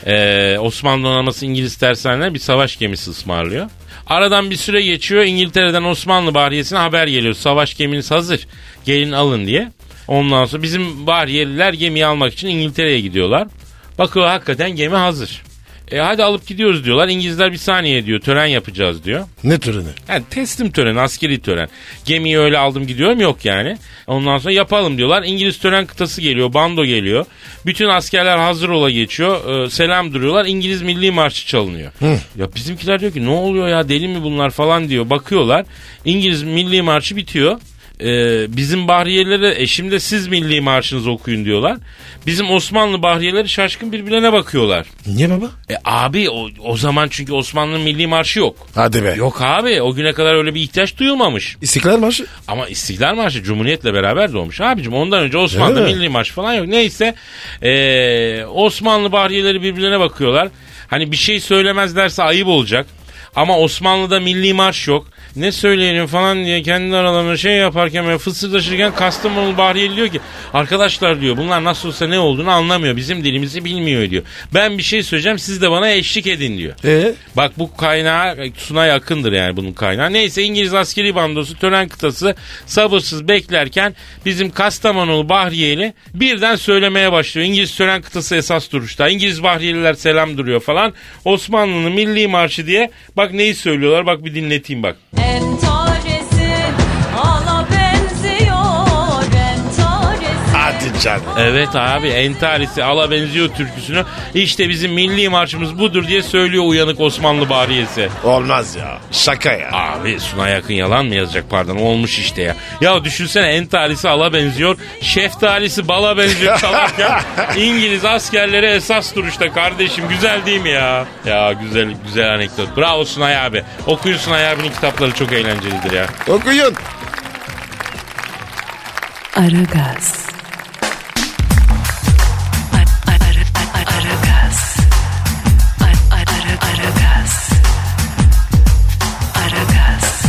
[SPEAKER 3] Ee, Osmanlı donanması İngiliz tersanelerine bir savaş gemisi ısmarlıyor. Aradan bir süre geçiyor. İngiltere'den Osmanlı bahriyesine haber geliyor. Savaş geminiz hazır. Gelin alın diye. Ondan sonra bizim bahriyeliler gemiyi almak için İngiltere'ye gidiyorlar. Bakıyor hakikaten gemi hazır. E hadi alıp gidiyoruz diyorlar. İngilizler bir saniye diyor. Tören yapacağız diyor.
[SPEAKER 4] Ne töreni?
[SPEAKER 3] Yani teslim töreni, askeri tören. Gemiyi öyle aldım gidiyorum yok yani. Ondan sonra yapalım diyorlar. İngiliz tören kıtası geliyor, bando geliyor. Bütün askerler hazır ola geçiyor. Ee, selam duruyorlar. İngiliz milli marşı çalınıyor. Ya bizimkiler diyor ki ne oluyor ya deli mi bunlar falan diyor. Bakıyorlar. İngiliz milli marşı bitiyor. Ee, bizim bahriyelere eşim de siz milli marşınızı okuyun diyorlar. Bizim Osmanlı bahriyeleri şaşkın birbirlerine bakıyorlar.
[SPEAKER 4] Niye baba?
[SPEAKER 3] E abi o, o zaman çünkü Osmanlı'nın milli marşı yok.
[SPEAKER 4] Hadi be.
[SPEAKER 3] Yok abi o güne kadar öyle bir ihtiyaç duyulmamış.
[SPEAKER 4] İstiklal Marşı.
[SPEAKER 3] Ama İstiklal Marşı Cumhuriyet'le beraber doğmuş. Abicim ondan önce Osmanlı
[SPEAKER 4] Öyle mi?
[SPEAKER 3] Milli Marşı falan yok. Neyse eee, Osmanlı Bahriyeleri birbirlerine bakıyorlar. Hani bir şey söylemezlerse ayıp olacak. Ama Osmanlı'da Milli Marş yok. ne söyleyelim falan diye kendi aralarında şey yaparken ve fısırdaşırken Kastamonu Bahriyeli diyor ki arkadaşlar diyor bunlar nasıl olsa ne olduğunu anlamıyor. Bizim dilimizi bilmiyor diyor. Ben bir şey söyleyeceğim siz de bana eşlik edin diyor.
[SPEAKER 4] E
[SPEAKER 3] Bak bu kaynağı Suna yakındır yani bunun kaynağı. Neyse İngiliz askeri bandosu tören kıtası sabırsız beklerken bizim Kastamonulu Bahriyeli birden söylemeye başlıyor. İngiliz tören kıtası esas duruşta. İngiliz Bahriyeliler selam duruyor falan. Osmanlı'nın milli marşı diye bak neyi söylüyorlar bak bir dinleteyim bak.
[SPEAKER 8] En tanesi ala benziyor en tanesi.
[SPEAKER 4] hadi canım.
[SPEAKER 3] Evet abi entarisi ala benziyor türküsünü. İşte bizim milli marşımız budur diye söylüyor uyanık Osmanlı Bahriyesi.
[SPEAKER 4] Olmaz ya. Şaka ya.
[SPEAKER 3] Abi Suna yakın yalan mı yazacak pardon olmuş işte ya. Ya düşünsene entarisi ala benziyor. Şeftalisi bala benziyor salak ya. İngiliz askerleri esas duruşta kardeşim güzel değil mi ya? Ya güzel güzel anekdot. Bravo Sunay abi. Okuyun Sunay abinin kitapları çok eğlencelidir ya.
[SPEAKER 4] Okuyun.
[SPEAKER 2] Aragaz. Ar- ar- ar- ar- Aragaz. Ar- ar- ar- Aragaz. Aragaz.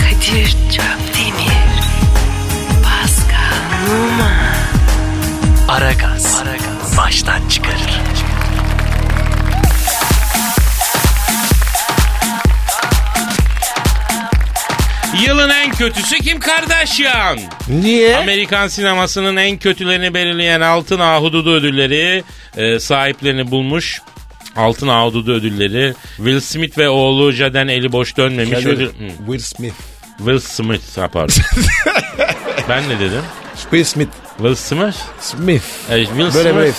[SPEAKER 2] Kadir Çöptemir. Pascal Numa.
[SPEAKER 6] Aragaz. Baştan çıkarır.
[SPEAKER 3] Yılın en kötüsü kim Kardashian?
[SPEAKER 4] Niye?
[SPEAKER 3] Amerikan sinemasının en kötülerini belirleyen Altın Ahududu ödülleri e, sahiplerini bulmuş. Altın Ahududu ödülleri Will Smith ve oğlu Jaden eli boş dönmemiş. Ödül- Hı,
[SPEAKER 4] Will Smith.
[SPEAKER 3] Will Smith ha, pardon. ben ne dedim?
[SPEAKER 4] Will Smith.
[SPEAKER 3] Will Smith?
[SPEAKER 4] Smith.
[SPEAKER 3] E, Will
[SPEAKER 4] Böyle
[SPEAKER 3] Smith.
[SPEAKER 4] böyle.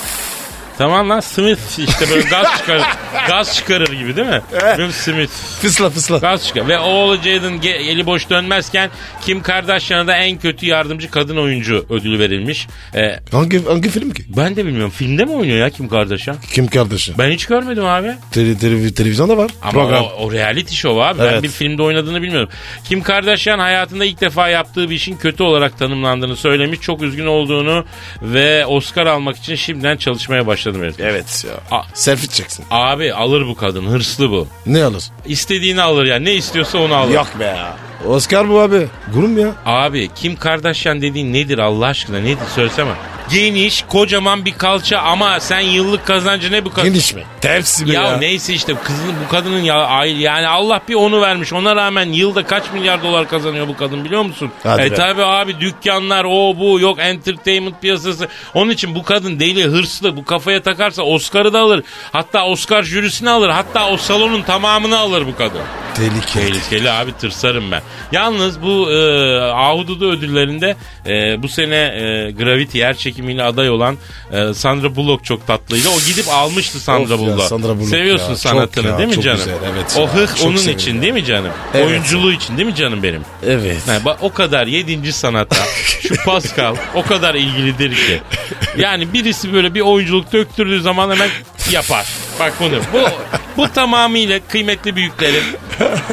[SPEAKER 3] Tamam lan Smith işte böyle gaz çıkarır. gaz çıkarır gibi değil mi? Will Smith.
[SPEAKER 4] Fısla fısla.
[SPEAKER 3] Gaz çıkar. Ve oğlu Jaden ge- eli boş dönmezken Kim Kardashian'a da en kötü yardımcı kadın oyuncu ödülü verilmiş. E,
[SPEAKER 4] Hangi, hangi film ki?
[SPEAKER 3] ben de bilmiyorum. Filmde mi oynuyor ya Kim Kardashian?
[SPEAKER 4] Kim kardeşi?
[SPEAKER 3] Ben hiç görmedim abi.
[SPEAKER 4] Tele, tele- televizyonda var.
[SPEAKER 3] Ama
[SPEAKER 4] Program.
[SPEAKER 3] o, o reality show abi. Ben
[SPEAKER 4] Evet.
[SPEAKER 3] bir filmde oynadığını bilmiyorum. Kim Kardashian hayatında ilk defa yaptığı bir işin kötü olarak tanımlandığını söylemiş. Çok üzgün olduğunu ve Oscar almak için şimdiden çalışmaya başladım. herif.
[SPEAKER 4] Evet ya.
[SPEAKER 3] A-
[SPEAKER 4] Selfie çeksin.
[SPEAKER 3] Abi alır bu kadın. Hırslı bu.
[SPEAKER 4] Ne alır?
[SPEAKER 3] İstediğini alır yani. Ne istiyorsa onu alır.
[SPEAKER 4] Yok be ya. Oscar bu abi. Gurum ya.
[SPEAKER 3] Abi Kim Kardashian dediğin nedir Allah aşkına nedir söylesene. Geniş kocaman bir kalça ama sen yıllık kazancı ne bu kadın?
[SPEAKER 4] Geniş mi? Tepsi be
[SPEAKER 3] Ya,
[SPEAKER 4] ya.
[SPEAKER 3] neyse işte kızın bu kadının ya ay- yani Allah bir onu vermiş. Ona rağmen yılda kaç milyar dolar kazanıyor bu kadın biliyor musun?
[SPEAKER 4] Hadi
[SPEAKER 3] e
[SPEAKER 4] be.
[SPEAKER 3] tabi abi dükkanlar o bu yok entertainment piyasası. Onun için bu kadın deli hırslı bu kafaya takarsa Oscar'ı da alır. Hatta Oscar jürisini alır. Hatta o salonun tamamını alır bu kadın.
[SPEAKER 4] Tehlikeli.
[SPEAKER 3] Tehlikeli abi tırsarım ben. Yalnız bu e, Ahududu ödüllerinde e, bu sene e, Gravity yer çekimiyle aday olan e, Sandra Bullock çok tatlıydı. O gidip almıştı Sandra
[SPEAKER 4] Of ya,
[SPEAKER 3] Bullock.
[SPEAKER 4] Sandra Bullock
[SPEAKER 3] Seviyorsun
[SPEAKER 4] ya,
[SPEAKER 3] sanatını
[SPEAKER 4] çok ya,
[SPEAKER 3] değil mi
[SPEAKER 4] çok
[SPEAKER 3] canım?
[SPEAKER 4] güzel, evet
[SPEAKER 3] o
[SPEAKER 4] ya,
[SPEAKER 3] hıh
[SPEAKER 4] çok
[SPEAKER 3] onun
[SPEAKER 4] seviyorum
[SPEAKER 3] için
[SPEAKER 4] ya.
[SPEAKER 3] değil mi canım?
[SPEAKER 4] Evet.
[SPEAKER 3] Oyunculuğu için değil mi canım benim?
[SPEAKER 4] Evet.
[SPEAKER 3] Ha, bak o kadar yedinci sanata şu Pascal o kadar ilgilidir ki. Yani birisi böyle bir oyunculuk döktürdüğü zaman hemen yapar. Bak bunu. Bu, bu tamamıyla kıymetli büyüklerim,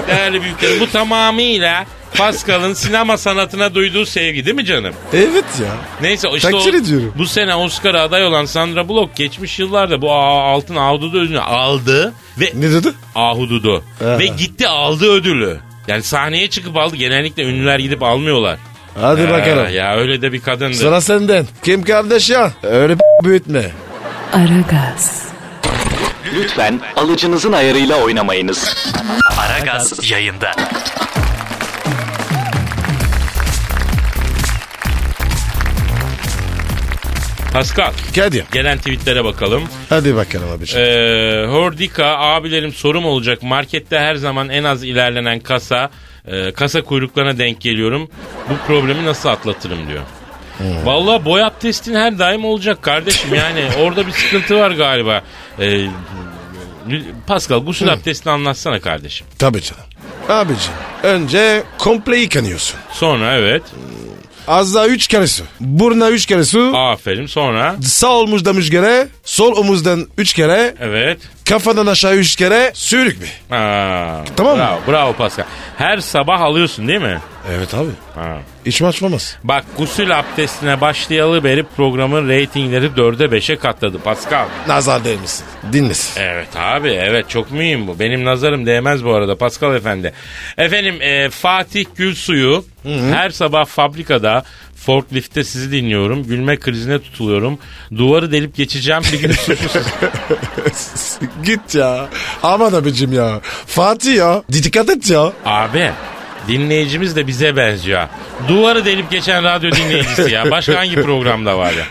[SPEAKER 3] değerli büyüklerim bu tamamıyla Pascal'ın sinema sanatına duyduğu sevgi değil mi canım?
[SPEAKER 4] Evet ya.
[SPEAKER 3] Neyse işte
[SPEAKER 4] Takdir
[SPEAKER 3] o-
[SPEAKER 4] ediyorum.
[SPEAKER 3] bu sene Oscar'a aday olan Sandra Bullock geçmiş yıllarda bu A- altın ahududu ödülünü aldı ve
[SPEAKER 4] Ne dedi?
[SPEAKER 3] ahududu
[SPEAKER 4] Aha.
[SPEAKER 3] ve gitti aldı ödülü. Yani sahneye çıkıp aldı. Genellikle ünlüler gidip almıyorlar.
[SPEAKER 4] Hadi
[SPEAKER 3] Ha,
[SPEAKER 4] bakalım.
[SPEAKER 3] Ee, Ya öyle de bir kadındı.
[SPEAKER 4] Sıra senden. Kim kardeş ya? Öyle b- büyütme.
[SPEAKER 2] Aragaz.
[SPEAKER 6] Lütfen alıcınızın ayarıyla oynamayınız. Aragaz yayında.
[SPEAKER 3] Pascal.
[SPEAKER 4] Hadi.
[SPEAKER 3] Gelen tweetlere bakalım.
[SPEAKER 4] Hadi bakalım abi.
[SPEAKER 3] Ee, Hordika abilerim sorum olacak. Markette her zaman en az ilerlenen kasa e, kasa kuyruklarına denk geliyorum. Bu problemi nasıl atlatırım diyor.
[SPEAKER 4] Hmm.
[SPEAKER 3] Vallahi boy abdestin her daim olacak kardeşim. Yani orada bir sıkıntı var galiba. Ee, Pascal gusül abdestini anlatsana kardeşim.
[SPEAKER 4] Tabii canım. Abiciğim önce komple yıkanıyorsun.
[SPEAKER 3] Sonra evet.
[SPEAKER 4] Az daha üç kere su. Buruna üç kere su.
[SPEAKER 3] Aferin. Sonra
[SPEAKER 4] Sağ omuzdan üç kere. Sol omuzdan üç kere.
[SPEAKER 3] evet.
[SPEAKER 4] Kafadan aşağı üç kere. Sürük mü?
[SPEAKER 3] Aa,
[SPEAKER 4] Tamam mı?
[SPEAKER 3] bravo, Bravo Pascal. Her sabah alıyorsun değil mi?
[SPEAKER 4] Evet abi.
[SPEAKER 3] Ha.
[SPEAKER 4] Hiç mi açmamaz?
[SPEAKER 3] Bak gusül abdestine başlayalı beri programın reytingleri dörde beşe katladı Pascal.
[SPEAKER 4] Nazar değmesin. Dinlesin.
[SPEAKER 3] Evet abi evet çok mühim bu. Benim nazarım değmez bu arada Pascal Efendi. Efendim e, Fatih Gülsuyu her sabah fabrikada forklifte sizi dinliyorum. Gülme krizine tutuluyorum. Duvarı delip geçeceğim bir gün suçsuz.
[SPEAKER 4] Git ya. Aman abicim ya. Fatih ya. Dikkat et ya.
[SPEAKER 3] Abi dinleyicimiz de bize benziyor. ha. Duvarı delip geçen radyo dinleyicisi ya. Başka hangi programda var ya?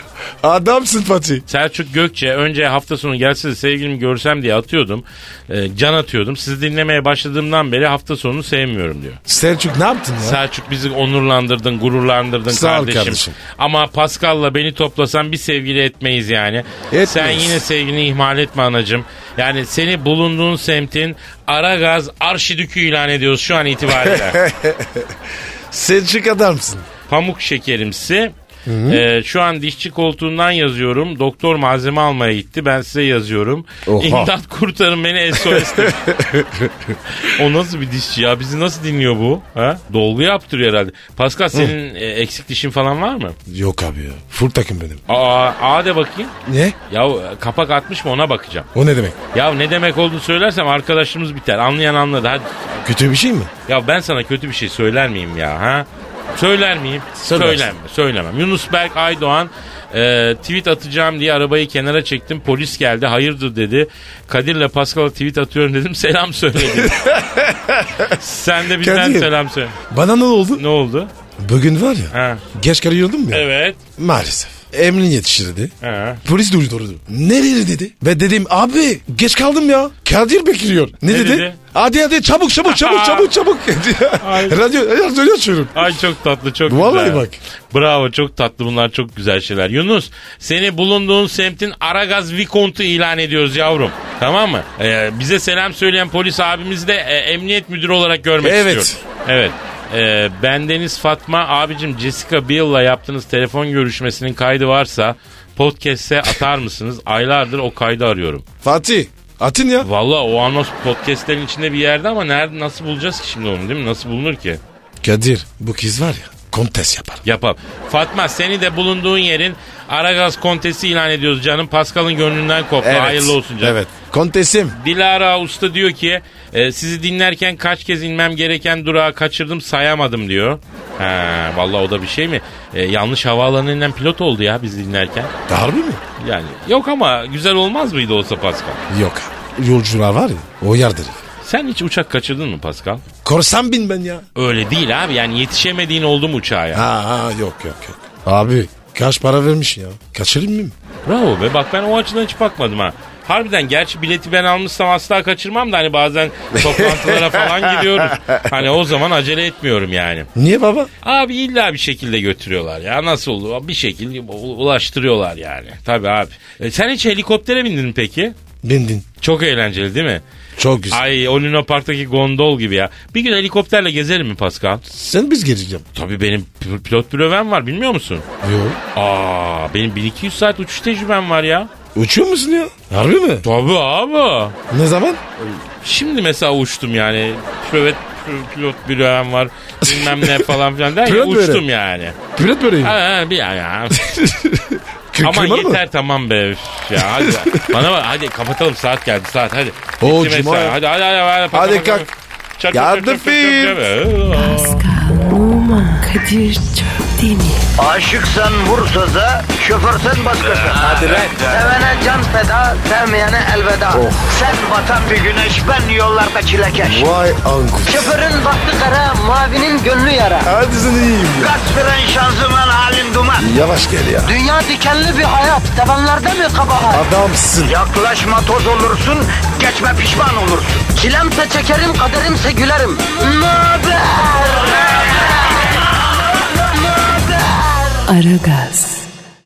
[SPEAKER 4] Adamsın Fatih.
[SPEAKER 3] Selçuk Gökçe önce hafta sonu gelsin de sevgilimi görsem diye atıyordum. E, can atıyordum. Sizi dinlemeye başladığımdan beri hafta sonunu sevmiyorum diyor.
[SPEAKER 4] Selçuk ne yaptın ya?
[SPEAKER 3] Selçuk bizi onurlandırdın, gururlandırdın
[SPEAKER 4] Sağ ol
[SPEAKER 3] kardeşim.
[SPEAKER 4] kardeşim.
[SPEAKER 3] Ama Pascal'la beni toplasan bir sevgili etmeyiz yani.
[SPEAKER 4] Etmeyiz.
[SPEAKER 3] Sen yine sevgini ihmal etme anacığım. Yani seni bulunduğun semtin Aragaz arşidükü ilan ediyoruz şu an itibariyle.
[SPEAKER 4] Selçuk adamsın.
[SPEAKER 3] Pamuk şekerimsi. Ee, şu an dişçi koltuğundan yazıyorum. Doktor malzeme almaya gitti. Ben size yazıyorum.
[SPEAKER 4] Oha.
[SPEAKER 3] İmdat kurtarın beni SOS. o nasıl bir dişçi ya? Bizi nasıl dinliyor bu? Ha? Dolgu yaptırıyor herhalde. Pascal senin e, eksik dişin falan var mı?
[SPEAKER 4] Yok abi ya. Full takım benim.
[SPEAKER 3] Aa, aa de bakayım.
[SPEAKER 4] Ne?
[SPEAKER 3] Ya kapak atmış mı ona bakacağım.
[SPEAKER 4] O ne demek?
[SPEAKER 3] Ya ne demek olduğunu söylersem arkadaşımız biter. Anlayan anladı. Hadi.
[SPEAKER 4] Kötü bir şey mi?
[SPEAKER 3] Ya ben sana kötü bir şey söyler miyim ya ha? Söyler miyim?
[SPEAKER 4] Söylersin.
[SPEAKER 3] Söylemem. Söylemem. Yunus Berk Aydoğan e, tweet atacağım diye arabayı kenara çektim. Polis geldi. Hayırdır dedi. Kadir'le Pascal'a tweet atıyorum dedim. Selam söyledi. Sen de bizden
[SPEAKER 4] Kadir.
[SPEAKER 3] selam söyle.
[SPEAKER 4] Bana ne oldu?
[SPEAKER 3] Ne oldu?
[SPEAKER 4] Bugün var ya.
[SPEAKER 3] Ha.
[SPEAKER 4] Geç kalıyordum ya.
[SPEAKER 3] Evet.
[SPEAKER 4] Maalesef. Emrin yetiştirdi.
[SPEAKER 3] Ha.
[SPEAKER 4] Polis durdurdu. Nereye dedi? Ve dedim abi geç kaldım ya. Kadir bekliyor. Ne,
[SPEAKER 3] Ne
[SPEAKER 4] dedi?
[SPEAKER 3] dedi?
[SPEAKER 4] Hadi hadi çabuk çabuk çabuk çabuk çabuk.
[SPEAKER 3] Ay.
[SPEAKER 4] radyo, radyo açıyorum.
[SPEAKER 3] Ay çok tatlı çok
[SPEAKER 4] Vallahi
[SPEAKER 3] güzel.
[SPEAKER 4] bak.
[SPEAKER 3] Bravo çok tatlı bunlar çok güzel şeyler. Yunus seni bulunduğun semtin Aragaz Vikont'u ilan ediyoruz yavrum. Tamam mı? Ee, bize selam söyleyen polis abimizi de e, emniyet müdürü olarak görmek
[SPEAKER 4] Evet.
[SPEAKER 3] istiyoruz. Evet. Ee, bendeniz Fatma abicim Jessica Biel'la yaptığınız telefon görüşmesinin kaydı varsa podcast'e atar mısınız? Aylardır o kaydı arıyorum.
[SPEAKER 4] Fatih atın ya.
[SPEAKER 3] Valla o anons podcast'lerin içinde bir yerde ama nerede nasıl bulacağız ki şimdi onu değil mi? Nasıl bulunur ki?
[SPEAKER 4] Kadir bu kız var ya kontes yapar.
[SPEAKER 3] Yapalım. Fatma seni de bulunduğun yerin Aragaz kontesi ilan ediyoruz canım. Pascal'ın gönlünden koptu. Hayırlı olsun canım.
[SPEAKER 4] Evet. Kontesim.
[SPEAKER 3] Dilara Usta diyor ki e, sizi dinlerken kaç kez inmem gereken durağı kaçırdım sayamadım diyor. Ha, vallahi o da bir şey mi? E, yanlış havaalanından pilot oldu ya biz dinlerken.
[SPEAKER 4] Harbi mi?
[SPEAKER 3] Yani yok ama güzel olmaz mıydı olsa Pascal?
[SPEAKER 4] Yok abi. Yolcular var ya o yerdir.
[SPEAKER 3] Sen hiç uçak kaçırdın mı Pascal?
[SPEAKER 4] Korsan bin ben ya.
[SPEAKER 3] Öyle değil abi yani yetişemediğin oldu mu uçağa ya?
[SPEAKER 4] Ha, ha yok yok yok. Abi kaç para vermiş ya? Kaçırayım mı?
[SPEAKER 3] Bravo be bak ben o açıdan hiç bakmadım ha. Harbiden gerçi bileti ben almışsam asla kaçırmam da hani bazen toplantılara falan gidiyoruz. Hani o zaman acele etmiyorum yani.
[SPEAKER 4] Niye baba?
[SPEAKER 3] Abi illa bir şekilde götürüyorlar ya nasıl olur bir şekilde u- ulaştırıyorlar yani. Tabii abi. E, sen hiç helikoptere bindin mi peki?
[SPEAKER 4] Bindin.
[SPEAKER 3] Çok eğlenceli değil mi?
[SPEAKER 4] Çok güzel.
[SPEAKER 3] Ay o Luna Park'taki gondol gibi ya. Bir gün helikopterle gezelim mi Pascal?
[SPEAKER 4] Sen biz geleceğim.
[SPEAKER 3] Tabii benim p- pilot büroven var bilmiyor musun?
[SPEAKER 4] Yok.
[SPEAKER 3] Aa benim 1200 saat uçuş tecrübem var ya.
[SPEAKER 4] Uçuyor musun ya? Harbi mi?
[SPEAKER 3] Tabii abi.
[SPEAKER 4] Ne zaman?
[SPEAKER 3] Şimdi mesela uçtum yani. Pilot, pilot büroem var. Bilmem ne falan filan der ya
[SPEAKER 4] Pilot böyle.
[SPEAKER 3] uçtum yani.
[SPEAKER 4] Pilot böreği mi?
[SPEAKER 3] Ha, ha, bir ya, ya.
[SPEAKER 4] Kı-
[SPEAKER 3] Aman
[SPEAKER 4] kırmalı mı?
[SPEAKER 3] yeter tamam be. üf Ya hadi. Bana bak hadi kapatalım saat geldi saat hadi.
[SPEAKER 4] Oo,
[SPEAKER 3] Bitti
[SPEAKER 4] cuma
[SPEAKER 3] mesai.
[SPEAKER 4] ya.
[SPEAKER 3] Hadi hadi hadi.
[SPEAKER 4] Hadi
[SPEAKER 3] Hadi, Pat- pat-
[SPEAKER 4] kalk.
[SPEAKER 3] pat- çak-
[SPEAKER 4] Yardım
[SPEAKER 3] çak- çak- çak- çak- çak-
[SPEAKER 2] Pascal, Oman, Kadir çok değil mi?
[SPEAKER 1] Aşıksan vursa da, şoförsen başkasın. Hadi Sevene can feda, sevmeyene elveda.
[SPEAKER 4] Oh.
[SPEAKER 1] Sen batan bir güneş, ben yollarda çilekeş.
[SPEAKER 4] Vay anku.
[SPEAKER 1] Şoförün baktı kara, mavinin gönlü yara.
[SPEAKER 4] Hadi sen iyiyim ya.
[SPEAKER 1] Kasperen şanzıman halin duman.
[SPEAKER 4] Yavaş gel ya.
[SPEAKER 1] Dünya dikenli bir hayat, sevenlerde mi kabahar?
[SPEAKER 4] Adamsın.
[SPEAKER 1] Yaklaşma toz olursun, geçme pişman olursun. Çilemse çekerim, kaderimse gülerim. Möber!
[SPEAKER 2] Aragaz.